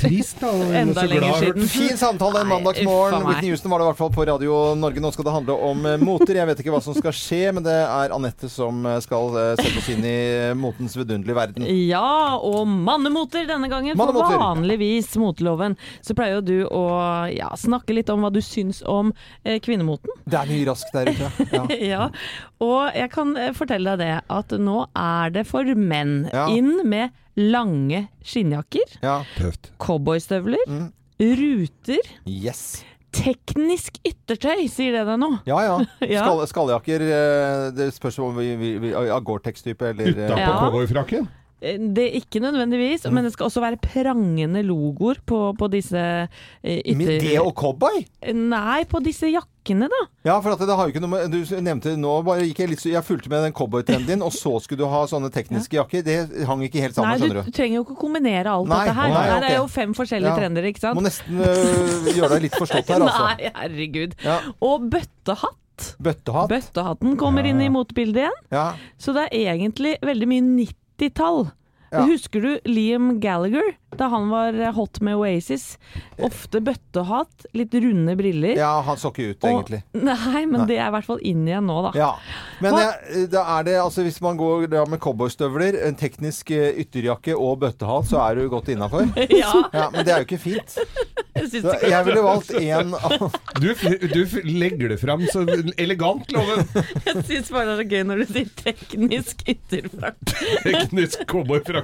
[SPEAKER 2] Trist, da. og hun er
[SPEAKER 4] Enda
[SPEAKER 2] så
[SPEAKER 4] lenger
[SPEAKER 2] glad.
[SPEAKER 4] siden.
[SPEAKER 1] Fin samtale en
[SPEAKER 4] Mhm. Nei,
[SPEAKER 1] mandagsmorgen.
[SPEAKER 4] uffa meg.
[SPEAKER 1] Whitney Houston var det i hvert fall på Radio Norge. Nå skal det handle om eh, moter. Jeg vet ikke hva som skal skje, men det er Anette som eh, skal eh, sette oss inn i eh, motens vidunderlige verden.
[SPEAKER 4] (laughs) Ja, og mannemoter denne gangen. For
[SPEAKER 1] Mannemoter.
[SPEAKER 4] vanligvis moteloven så pleier jo du å ja, snakke litt om hva du syns om eh, kvinnemoten. (laughs)
[SPEAKER 1] Det er mye raskt der ute. Ja.
[SPEAKER 4] Ja, og jeg kan eh, fortelle deg det, at nå er det for menn
[SPEAKER 1] Ja.
[SPEAKER 4] inn med lange skinnjakker,
[SPEAKER 1] ja.
[SPEAKER 2] Tøft.
[SPEAKER 4] cowboystøvler,
[SPEAKER 1] Mm.
[SPEAKER 4] ruter,
[SPEAKER 1] Yes.
[SPEAKER 4] teknisk yttertøy, sier det deg nå.
[SPEAKER 1] Ja ja.
[SPEAKER 4] (laughs) Ja.
[SPEAKER 1] Skall, skalljakker. eh, Det spørs om vi, vi, vi ja, Gore-Tex-type eller eh,
[SPEAKER 2] Utapå
[SPEAKER 4] Ja.
[SPEAKER 2] cowboyfrakken?
[SPEAKER 4] Eh, Det er ikke
[SPEAKER 1] Mm.
[SPEAKER 4] nødvendigvis, men det skal også være prangende logoer på, på disse eh,
[SPEAKER 1] Men
[SPEAKER 4] ytter...
[SPEAKER 1] det og cowboy?
[SPEAKER 4] Nei, på disse jakkene da.
[SPEAKER 1] Ja, for at det har jo ikke noe med, Du nevnte nå bare gikk jeg litt så- Jeg fulgte med den cowboytrenden din, og så skulle du ha sånne tekniske jakker. Det hang ikke helt sammen,
[SPEAKER 4] Nei,
[SPEAKER 1] skjønner
[SPEAKER 4] du
[SPEAKER 1] du.
[SPEAKER 4] trenger jo ikke å kombinere alt
[SPEAKER 1] Nei,
[SPEAKER 4] dette her.
[SPEAKER 1] nei,
[SPEAKER 4] Her
[SPEAKER 1] ok.
[SPEAKER 4] er jo fem forskjellige
[SPEAKER 1] Ja.
[SPEAKER 4] trender, ikke
[SPEAKER 1] Må
[SPEAKER 4] sant?
[SPEAKER 1] nesten øh, gjøre deg litt forstått her, altså.
[SPEAKER 4] (laughs) Nei, herregud.
[SPEAKER 1] Ja.
[SPEAKER 4] Og bøttehatt.
[SPEAKER 1] Bøttehatt.
[SPEAKER 4] Bøttehatten kommer
[SPEAKER 1] Ah.
[SPEAKER 4] inn i motebildet igjen.
[SPEAKER 1] Ja.
[SPEAKER 4] Så det er egentlig veldig mye 90-tall.
[SPEAKER 1] Ja.
[SPEAKER 4] Husker du Liam Gallagher da han var hot med Oasis? Ofte bøttehatt, litt runde briller.
[SPEAKER 1] ja, han så ikke ut, egentlig.
[SPEAKER 4] Og, nei, men det er i hvert fall inn igjen nå, da.
[SPEAKER 1] Ja. Men
[SPEAKER 4] Hva-
[SPEAKER 1] jeg, da er det altså Hvis man går da med cowboystøvler, en teknisk eh, ytterjakke og bøttehatt, så er du godt innafor.
[SPEAKER 4] (laughs)
[SPEAKER 1] (laughs)
[SPEAKER 4] Ja,
[SPEAKER 1] Ja, men det er jo ikke fint.
[SPEAKER 4] jeg syns
[SPEAKER 1] Så
[SPEAKER 4] ikke
[SPEAKER 1] jeg ville valgt én
[SPEAKER 2] Du, f- du f- legger det fram så elegant, Loven.
[SPEAKER 4] Jeg synes bare det er så gøy når du sier teknisk ytterfrakk.
[SPEAKER 2] Teknisk cowboyfrakke.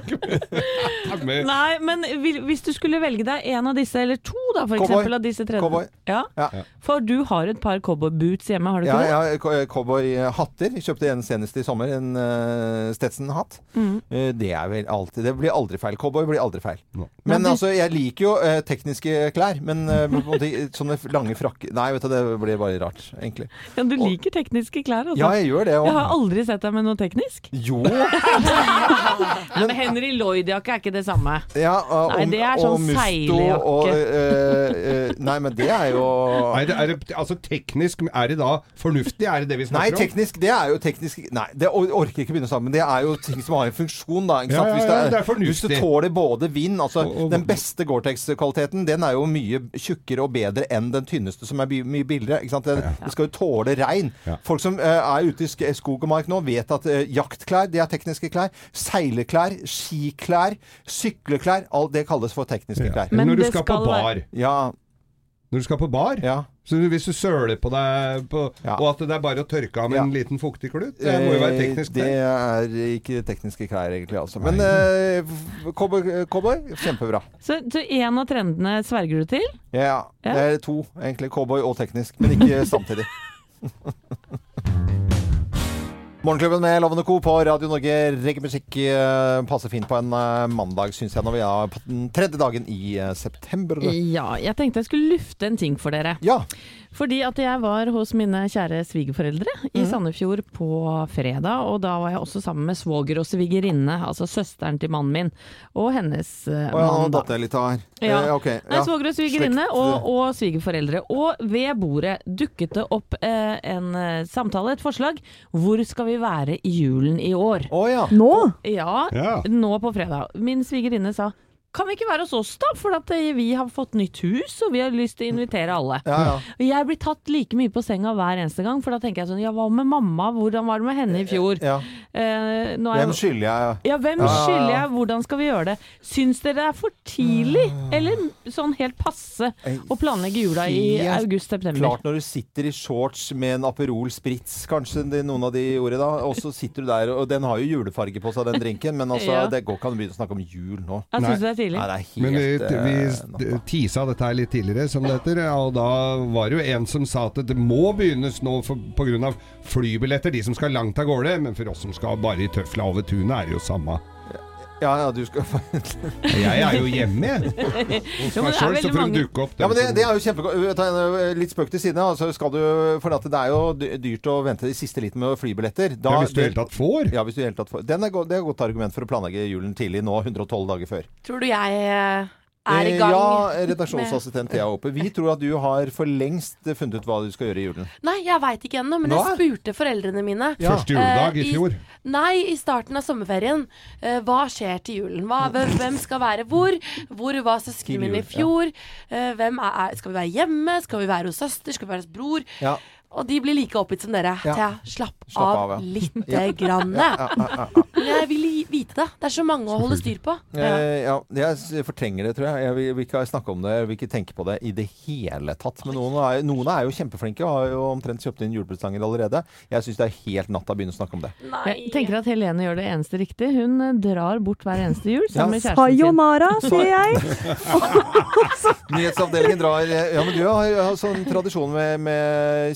[SPEAKER 2] Ja, men-
[SPEAKER 4] Nei, men vil- hvis du skulle velge deg en av disse, eller to da, for
[SPEAKER 1] Cowboy.
[SPEAKER 4] eksempel av disse tredje
[SPEAKER 1] Cowboy.
[SPEAKER 4] Ja.
[SPEAKER 1] (laughs) Ja.
[SPEAKER 4] For du har et par cowboyboots hjemme, har du
[SPEAKER 1] ja,
[SPEAKER 4] ikke det?
[SPEAKER 1] ja, eh, co- cowboyhatter. Jeg Kjøpte en senest i sommer, en eh, Stetson-hatt.
[SPEAKER 4] Mm.
[SPEAKER 1] Eh, det er vel alltid Det blir aldri feil. Cowboy blir aldri feil. Men altså, jeg liker jo eh, tekniske klær, men eh, på en måte, sånne lange frakker Nei, vet du, det blir bare rart, egentlig.
[SPEAKER 4] Ja, du liker tekniske klær, altså.
[SPEAKER 1] Ja, jeg gjør det.
[SPEAKER 4] Jeg har
[SPEAKER 1] Og...
[SPEAKER 4] aldri sett deg med noe teknisk.
[SPEAKER 1] Jo!
[SPEAKER 4] Nei, men Henry Lloyd-jakke er ikke det samme.
[SPEAKER 1] Ja, og,
[SPEAKER 4] Nei, det er sånn
[SPEAKER 1] og musto
[SPEAKER 4] seilejakke.
[SPEAKER 1] og eh, eh, Nei, men det er jo
[SPEAKER 2] Er det, er det, altså teknisk, er det da fornuftig? Er det det vi
[SPEAKER 1] Nei,
[SPEAKER 2] snakker om?
[SPEAKER 1] teknisk, det er jo teknisk Nei, det or- orker jeg ikke begynne sammen. Det er jo ting som har en funksjon, da. Ikke
[SPEAKER 2] Ja,
[SPEAKER 1] sant?
[SPEAKER 2] ja, ja, det er fornuftig.
[SPEAKER 1] hvis du tåler både vind altså,
[SPEAKER 2] Og- og-
[SPEAKER 1] Den beste Gore-Tex-kvaliteten, den er jo mye tjukkere og bedre enn den tynneste, som er by- mye billigere. Ikke sant? Den, den skal jo tåle regn.
[SPEAKER 2] Ja.
[SPEAKER 1] Folk som eh, er ute i sk skog og mark nå, vet at eh, jaktklær, det er tekniske klær. Seileklær, skiklær, sykleklær. Alt det kalles for tekniske klær.
[SPEAKER 4] Men
[SPEAKER 2] når du
[SPEAKER 4] det
[SPEAKER 2] skal,
[SPEAKER 4] skal
[SPEAKER 2] på bar.
[SPEAKER 4] være-
[SPEAKER 1] Ja,
[SPEAKER 2] Når du skal på bar
[SPEAKER 1] ja.
[SPEAKER 2] Så hvis du søler på deg, på,
[SPEAKER 1] Ja.
[SPEAKER 2] og at det er bare å tørke av med en liten fuktig klut Det må jo være
[SPEAKER 1] Eh,
[SPEAKER 2] teknisk.
[SPEAKER 1] Det
[SPEAKER 2] Det,
[SPEAKER 1] er ikke tekniske klær, egentlig. Altså. Men eh, f- cowboy, cowboy, kjempebra.
[SPEAKER 4] Så, så en av trendene sverger du til?
[SPEAKER 1] Ja, ja.
[SPEAKER 4] Ja.
[SPEAKER 1] Det er to, egentlig. Cowboy og teknisk, men
[SPEAKER 4] (laughs)
[SPEAKER 1] ikke samtidig. Morgenklubben med Lovende Co. på Radio Norge. Reggaemusikk eh, passer fint på en eh, mandag, syns jeg, når vi er på den tredje dagen i eh, september.
[SPEAKER 4] Ja, jeg tenkte jeg skulle lufte en ting for dere.
[SPEAKER 1] Ja.
[SPEAKER 4] Fordi at jeg var hos mine kjære svigerforeldre i Sandefjord på fredag, og da var jeg også sammen med svoger og svigerinne, altså søsteren til mannen min, og hennes eh,
[SPEAKER 1] Å ja, nå
[SPEAKER 4] mann. da.
[SPEAKER 1] datt jeg litt av her.
[SPEAKER 4] Ja.
[SPEAKER 1] Eh, ok,
[SPEAKER 4] Nei,
[SPEAKER 1] ja.
[SPEAKER 4] Svoger og svigerinne
[SPEAKER 1] Slekt,
[SPEAKER 4] og, og svigerforeldre. Og ved bordet dukket det opp eh, en eh, samtale, et forslag. Hvor skal vi være i julen i år?
[SPEAKER 1] Å ja.
[SPEAKER 5] Nå?
[SPEAKER 4] Ja,
[SPEAKER 2] Ja.
[SPEAKER 4] nå på fredag. Min svigerinne sa kan vi ikke være hos oss, da? For at eh, vi har fått nytt hus, og vi har lyst til å invitere alle.
[SPEAKER 1] Ja, ja.
[SPEAKER 4] Og Jeg blir tatt like mye på senga hver eneste gang, for da tenker jeg sånn Ja, hva med mamma? Hvordan var det med henne i fjor?
[SPEAKER 1] ja.
[SPEAKER 4] Eh, nå er
[SPEAKER 1] Hvem
[SPEAKER 4] jeg
[SPEAKER 1] skylder jeg?
[SPEAKER 4] ja, hvem
[SPEAKER 1] Ja, ja, ja.
[SPEAKER 4] skylder jeg? Hvordan skal vi gjøre det? Syns dere det er for tidlig,
[SPEAKER 1] Ah.
[SPEAKER 4] eller sånn helt passe, å planlegge jula i
[SPEAKER 1] Helt
[SPEAKER 4] august-september?
[SPEAKER 1] Klart når du sitter i shorts med en Aperol Spritz, kanskje det noen av de gjorde da, og så sitter du der, og den har jo julefarge på seg, den drinken, men
[SPEAKER 3] (laughs)
[SPEAKER 1] altså,
[SPEAKER 4] Ja.
[SPEAKER 1] det går ikke an å begynne å snakke om jul nå.
[SPEAKER 4] Jeg syns det er
[SPEAKER 1] Nei,
[SPEAKER 4] tidlig.
[SPEAKER 1] det er helt
[SPEAKER 2] men vi, vi
[SPEAKER 1] eh,
[SPEAKER 2] t- tisa dette her litt tidligere, som det heter. ja, Og da var det jo en som sa at det må begynnes nå pga. flybilletter, de som skal langt av gårde. Men for oss som skal bare i tøfla over tunet, er det jo samme.
[SPEAKER 1] Ja, ja, du skal
[SPEAKER 2] Jeg er jo hjemme,
[SPEAKER 4] (laughs)
[SPEAKER 2] jeg. Hos
[SPEAKER 4] Jo, men
[SPEAKER 2] meg
[SPEAKER 4] det er
[SPEAKER 2] sjøl, så får
[SPEAKER 4] veldig
[SPEAKER 2] de
[SPEAKER 4] mange-
[SPEAKER 2] dukke opp.
[SPEAKER 1] (laughs) Ja, men det,
[SPEAKER 2] dem
[SPEAKER 1] det
[SPEAKER 2] som-
[SPEAKER 1] er jo kjempegodt. Litt spøk til side. Altså skal du, for at det er jo dy- dyrt å vente i siste liten med flybilletter. Da-
[SPEAKER 2] ja, hvis du i det hele tatt får.
[SPEAKER 1] Ja, hvis du i det hele tatt får. Den er go det er et godt argument for å planlegge julen tidlig nå, 112 dager før.
[SPEAKER 3] Tror du jeg eh, er i
[SPEAKER 1] Eh,
[SPEAKER 3] gang.
[SPEAKER 1] Ja,
[SPEAKER 3] med-
[SPEAKER 1] redaksjonsassistent Thea Håpe. Vi tror at du har for lengst funnet ut hva du skal gjøre i julen.
[SPEAKER 3] Nei, jeg veit ikke ennå, men
[SPEAKER 1] Hva?
[SPEAKER 3] jeg spurte foreldrene mine.
[SPEAKER 1] Ja.
[SPEAKER 2] Første juledag
[SPEAKER 3] Eh,
[SPEAKER 2] i fjor.
[SPEAKER 3] Nei, i starten av sommerferien. Eh, hva skjer til julen? Hva, hvem, hvem skal være hvor? Hvor var
[SPEAKER 1] Til
[SPEAKER 3] søsknene mine i
[SPEAKER 1] jul,
[SPEAKER 3] fjor? Eh, hvem er, er, skal vi være hjemme? Skal vi være hos søster? Skal vi være hos bror?
[SPEAKER 1] Ja.
[SPEAKER 3] Og de blir like oppgitt som dere.
[SPEAKER 1] Ja.
[SPEAKER 3] Thea, slapp,
[SPEAKER 1] Slapp
[SPEAKER 3] av,
[SPEAKER 1] av, (laughs) ja.
[SPEAKER 3] lite grann. Men jeg vil i- vite det. Det er så mange å holde styr på.
[SPEAKER 1] Eh, ja, jeg s- fortrenger det, tror jeg. Jeg vil, vil ikke snakke om det, jeg vil ikke tenke på det i det hele tatt. Men noen er, noen er jo kjempeflinke og har jo omtrent kjøpt inn juleprestanger allerede. Jeg syns det er helt natta å begynne å snakke om det.
[SPEAKER 3] Nei.
[SPEAKER 4] Jeg tenker at Helene gjør det eneste riktig. Hun eh, drar bort hver eneste jul sammen med kjæresten sin.
[SPEAKER 5] Sayonara, sier jeg.
[SPEAKER 1] Nyhetsavdelingen drar eh, Ja, men du har, har sånn tradisjon med, med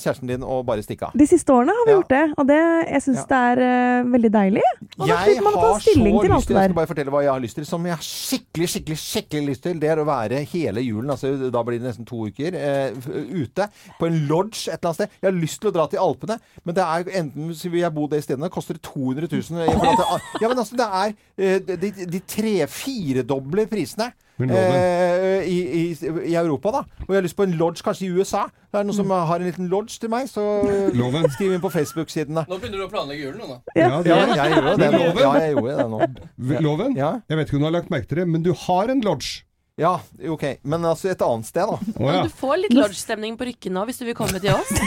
[SPEAKER 1] kjæresten din og bare stikke av.
[SPEAKER 5] De siste årene har vi
[SPEAKER 1] Ja.
[SPEAKER 5] gjort det, og det, jeg syns det er eh, veldig deilig. Og da slipper man å ta stilling til alt
[SPEAKER 1] lyst til
[SPEAKER 5] det
[SPEAKER 1] Jeg
[SPEAKER 5] der.
[SPEAKER 1] skal bare fortelle hva jeg har lyst til, som jeg har skikkelig, skikkelig skikkelig lyst til. Det er å være hele julen, altså da blir det nesten to uker, eh, f- ute på en lodge et eller annet sted. Jeg har lyst til å dra til Alpene, men det er enten så vil jeg bo det stedet, det koster 200 000 jeg får dra
[SPEAKER 5] (laughs)
[SPEAKER 1] til- Ja, men altså, det er eh, De, de tre-firedobler prisene.
[SPEAKER 2] Men loven.
[SPEAKER 1] eh, i, i, I Europa, da. Og jeg har lyst på en lodge, kanskje i USA. Det er noen som
[SPEAKER 5] Mm.
[SPEAKER 1] har en liten lodge til meg, så
[SPEAKER 2] Loven.
[SPEAKER 1] skriv inn på Facebook-sidene.
[SPEAKER 9] Nå begynner du å planlegge julen, nå, da.
[SPEAKER 1] Ja,
[SPEAKER 2] Ja, det-
[SPEAKER 1] jeg gjorde det nå.
[SPEAKER 2] Loven.
[SPEAKER 1] Ja, jeg gjorde det nå.
[SPEAKER 2] V- Loven,
[SPEAKER 1] Ja.
[SPEAKER 2] jeg vet ikke om du har lagt merke til det, men du har en lodge.
[SPEAKER 1] Ja, ok. Men altså et annet sted, da.
[SPEAKER 2] Å ja.
[SPEAKER 3] Du får litt lodge-stemning på Rykke nå hvis du vil komme til oss. Det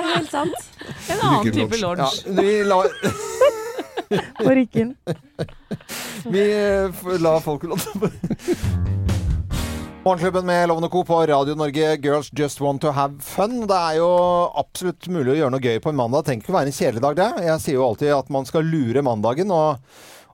[SPEAKER 3] er helt sant.
[SPEAKER 4] En annen
[SPEAKER 2] Ligger
[SPEAKER 4] type lodge.
[SPEAKER 1] Ja, vi, la,
[SPEAKER 5] Og rykken.
[SPEAKER 1] vi eh, f- la folk Morgenklubben med Lovende Co. på Radio Norge, Girls Just Want To Have Fun. Det er jo absolutt mulig å gjøre noe gøy på en mandag. Det Trenger ikke å være en kjedelig dag, det. Jeg sier jo alltid at man skal lure mandagen, og,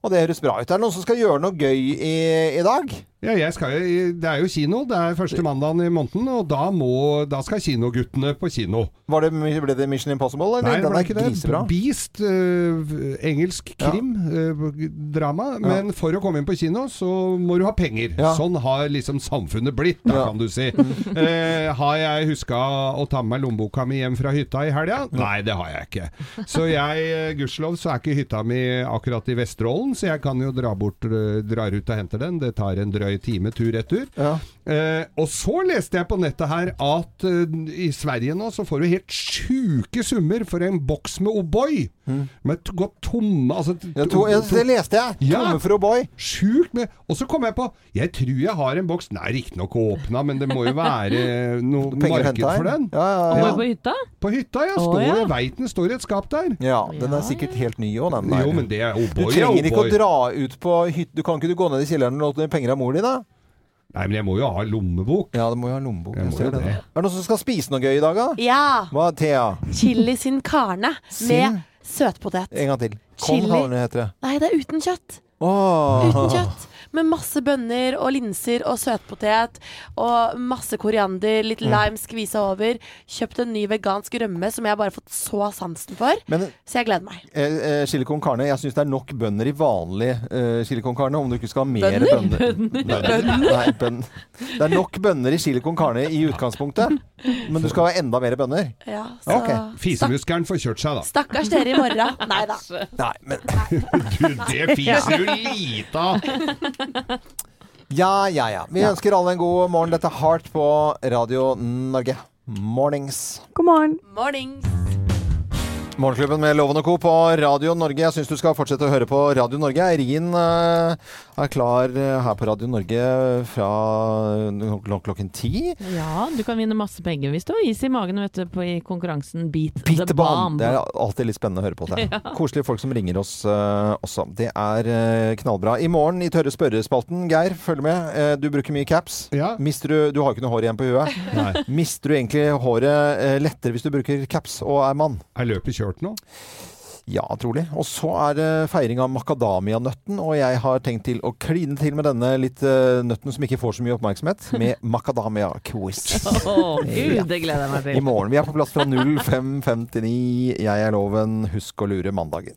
[SPEAKER 1] og det høres bra ut. Er det noen som skal gjøre noe gøy i, i dag?
[SPEAKER 2] Ja, jeg skal, jo i- det er jo kino. Det er første mandagen i måneden, og da, må, da skal kinoguttene på kino.
[SPEAKER 1] Var det, ble det Mission Impossible, eller?
[SPEAKER 2] Nei, det
[SPEAKER 1] Den
[SPEAKER 2] var
[SPEAKER 1] er
[SPEAKER 2] ikke det.
[SPEAKER 1] grisebra.
[SPEAKER 2] Beast, eh, engelsk
[SPEAKER 1] Ja.
[SPEAKER 2] krim, eh, drama. Men for å komme inn på kino, så må du ha penger.
[SPEAKER 1] Ja.
[SPEAKER 2] Sånn har liksom samfunnet blitt, da,
[SPEAKER 1] Ja.
[SPEAKER 2] kan
[SPEAKER 1] (laughs)
[SPEAKER 2] du si. Eh, har jeg huska å ta med meg lommeboka mi hjem fra hytta i helga? Nei, det har jeg ikke. Så jeg, eh, gudskjelov, så er ikke hytta mi akkurat i Vesterålen, så jeg kan jo dra bort, eh, drar ut og henter den. Det tar en drøy time tur-retur.
[SPEAKER 1] Ja.
[SPEAKER 2] Eh, og så leste jeg på nettet her at eh, i Sverige nå så får du helt sjuke summer for en boks med O'boy. Med t- gått tomme altså, t-
[SPEAKER 1] Ja, to, ja,
[SPEAKER 2] to-
[SPEAKER 1] det leste Mm. jeg.
[SPEAKER 2] Ja.
[SPEAKER 1] Tomme for O'boy.
[SPEAKER 2] Sjukt med Og så kom jeg på Jeg tror jeg har en boks Nei, riktignok åpna, men det må jo
[SPEAKER 1] (laughs)
[SPEAKER 2] være noe
[SPEAKER 1] Penger å
[SPEAKER 2] marked
[SPEAKER 1] hente her.
[SPEAKER 2] for den.
[SPEAKER 1] Ja, ja,
[SPEAKER 4] Bor
[SPEAKER 1] ja.
[SPEAKER 4] du på hytta?
[SPEAKER 2] På hytta, ja.
[SPEAKER 4] Å,
[SPEAKER 2] Står,
[SPEAKER 4] ja.
[SPEAKER 2] Jeg veit den står i et skap der.
[SPEAKER 1] Ja, den er sikkert helt ny òg, den der.
[SPEAKER 2] Jo, men det er
[SPEAKER 1] du
[SPEAKER 2] O'boy. er
[SPEAKER 1] trenger ikke å
[SPEAKER 2] O'boy.
[SPEAKER 1] dra ut på hytte. Du kan ikke du gå ned i kjelleren og låne penger av mor di, da?
[SPEAKER 2] Nei, men jeg må jo ha lommebok.
[SPEAKER 1] Ja, det må jo ha lommebok.
[SPEAKER 2] Jeg
[SPEAKER 1] Jeg
[SPEAKER 2] må
[SPEAKER 1] ser
[SPEAKER 2] jo
[SPEAKER 1] det.
[SPEAKER 2] det.
[SPEAKER 1] Er det noen som skal spise noe gøy i dag, da?
[SPEAKER 3] Ja.
[SPEAKER 1] Hva, Thea?
[SPEAKER 3] Chili sin carne med
[SPEAKER 1] Sin? Eh.
[SPEAKER 3] søtpotet.
[SPEAKER 1] En gang til.
[SPEAKER 3] Chili.
[SPEAKER 1] Konghavne heter det.
[SPEAKER 3] Nei, det er uten kjøtt.
[SPEAKER 1] Åh.
[SPEAKER 3] Uten kjøtt. Med masse bønner og linser og søtpotet og masse koriander, litt lime skvisa over. Kjøpt en ny vegansk rømme som jeg bare har fått så sansen for.
[SPEAKER 1] Men
[SPEAKER 3] Så jeg gleder meg.
[SPEAKER 1] eh, eh, chili con carne Jeg syns det er nok bønder i vanlig eh, chili con carne, om du ikke skal ha mer
[SPEAKER 3] Bønner?
[SPEAKER 1] bønner. Bønner? Nei, bønn. Det er nok bønner i chili con carne i utgangspunktet, men du skal ha enda mer bønner.
[SPEAKER 3] Ja, så
[SPEAKER 1] Ok.
[SPEAKER 3] Stakk,
[SPEAKER 2] Fisemuskelen får kjørt seg, da.
[SPEAKER 3] Stakkars dere i (laughs) morgen. Nei da.
[SPEAKER 1] Nei, men
[SPEAKER 2] Du, det fiser jo lite
[SPEAKER 1] (laughs)
[SPEAKER 2] av!
[SPEAKER 1] Ja, ja, ja. Vi ønsker alle en god morgen. Dette er Heart på Radio Norge. Mornings.
[SPEAKER 5] God morgen.
[SPEAKER 3] Mornings.
[SPEAKER 1] Morgenklubben med Loven og Co. på Radio Norge. Jeg syns du skal fortsette å høre på Radio Norge. Eirin eh, er klar eh, her på Radio Norge fra klok klokken ti.
[SPEAKER 4] Ja, du kan vinne masse penger hvis du har is i magen vet du, på, i konkurransen Beat,
[SPEAKER 1] Beat
[SPEAKER 4] the Bomb.
[SPEAKER 1] Det er alltid litt spennende å høre på
[SPEAKER 4] (laughs)
[SPEAKER 1] seg. Koselige folk som ringer oss eh, også. Det er eh, knallbra. I morgen i Tørre spørrespalten, Geir, følg med. Eh, du bruker mye caps.
[SPEAKER 2] Ja.
[SPEAKER 1] Mister du, du har jo ikke noe hår igjen på huet.
[SPEAKER 2] Nei.
[SPEAKER 1] Mister du egentlig håret eh, lettere hvis du bruker caps og er mann?
[SPEAKER 2] Er løpet kjørt nå?
[SPEAKER 1] Ja, trolig. Og så er det feiring av makadamianøtten, og jeg har tenkt til å kline til med denne litt eh, nøtten som ikke får så mye oppmerksomhet, med makadamia-quiz.
[SPEAKER 4] Å, gud, det gleder jeg meg til.
[SPEAKER 1] I morgen. Vi er på plass fra 05.59. Jeg er loven. Husk å lure mandagen.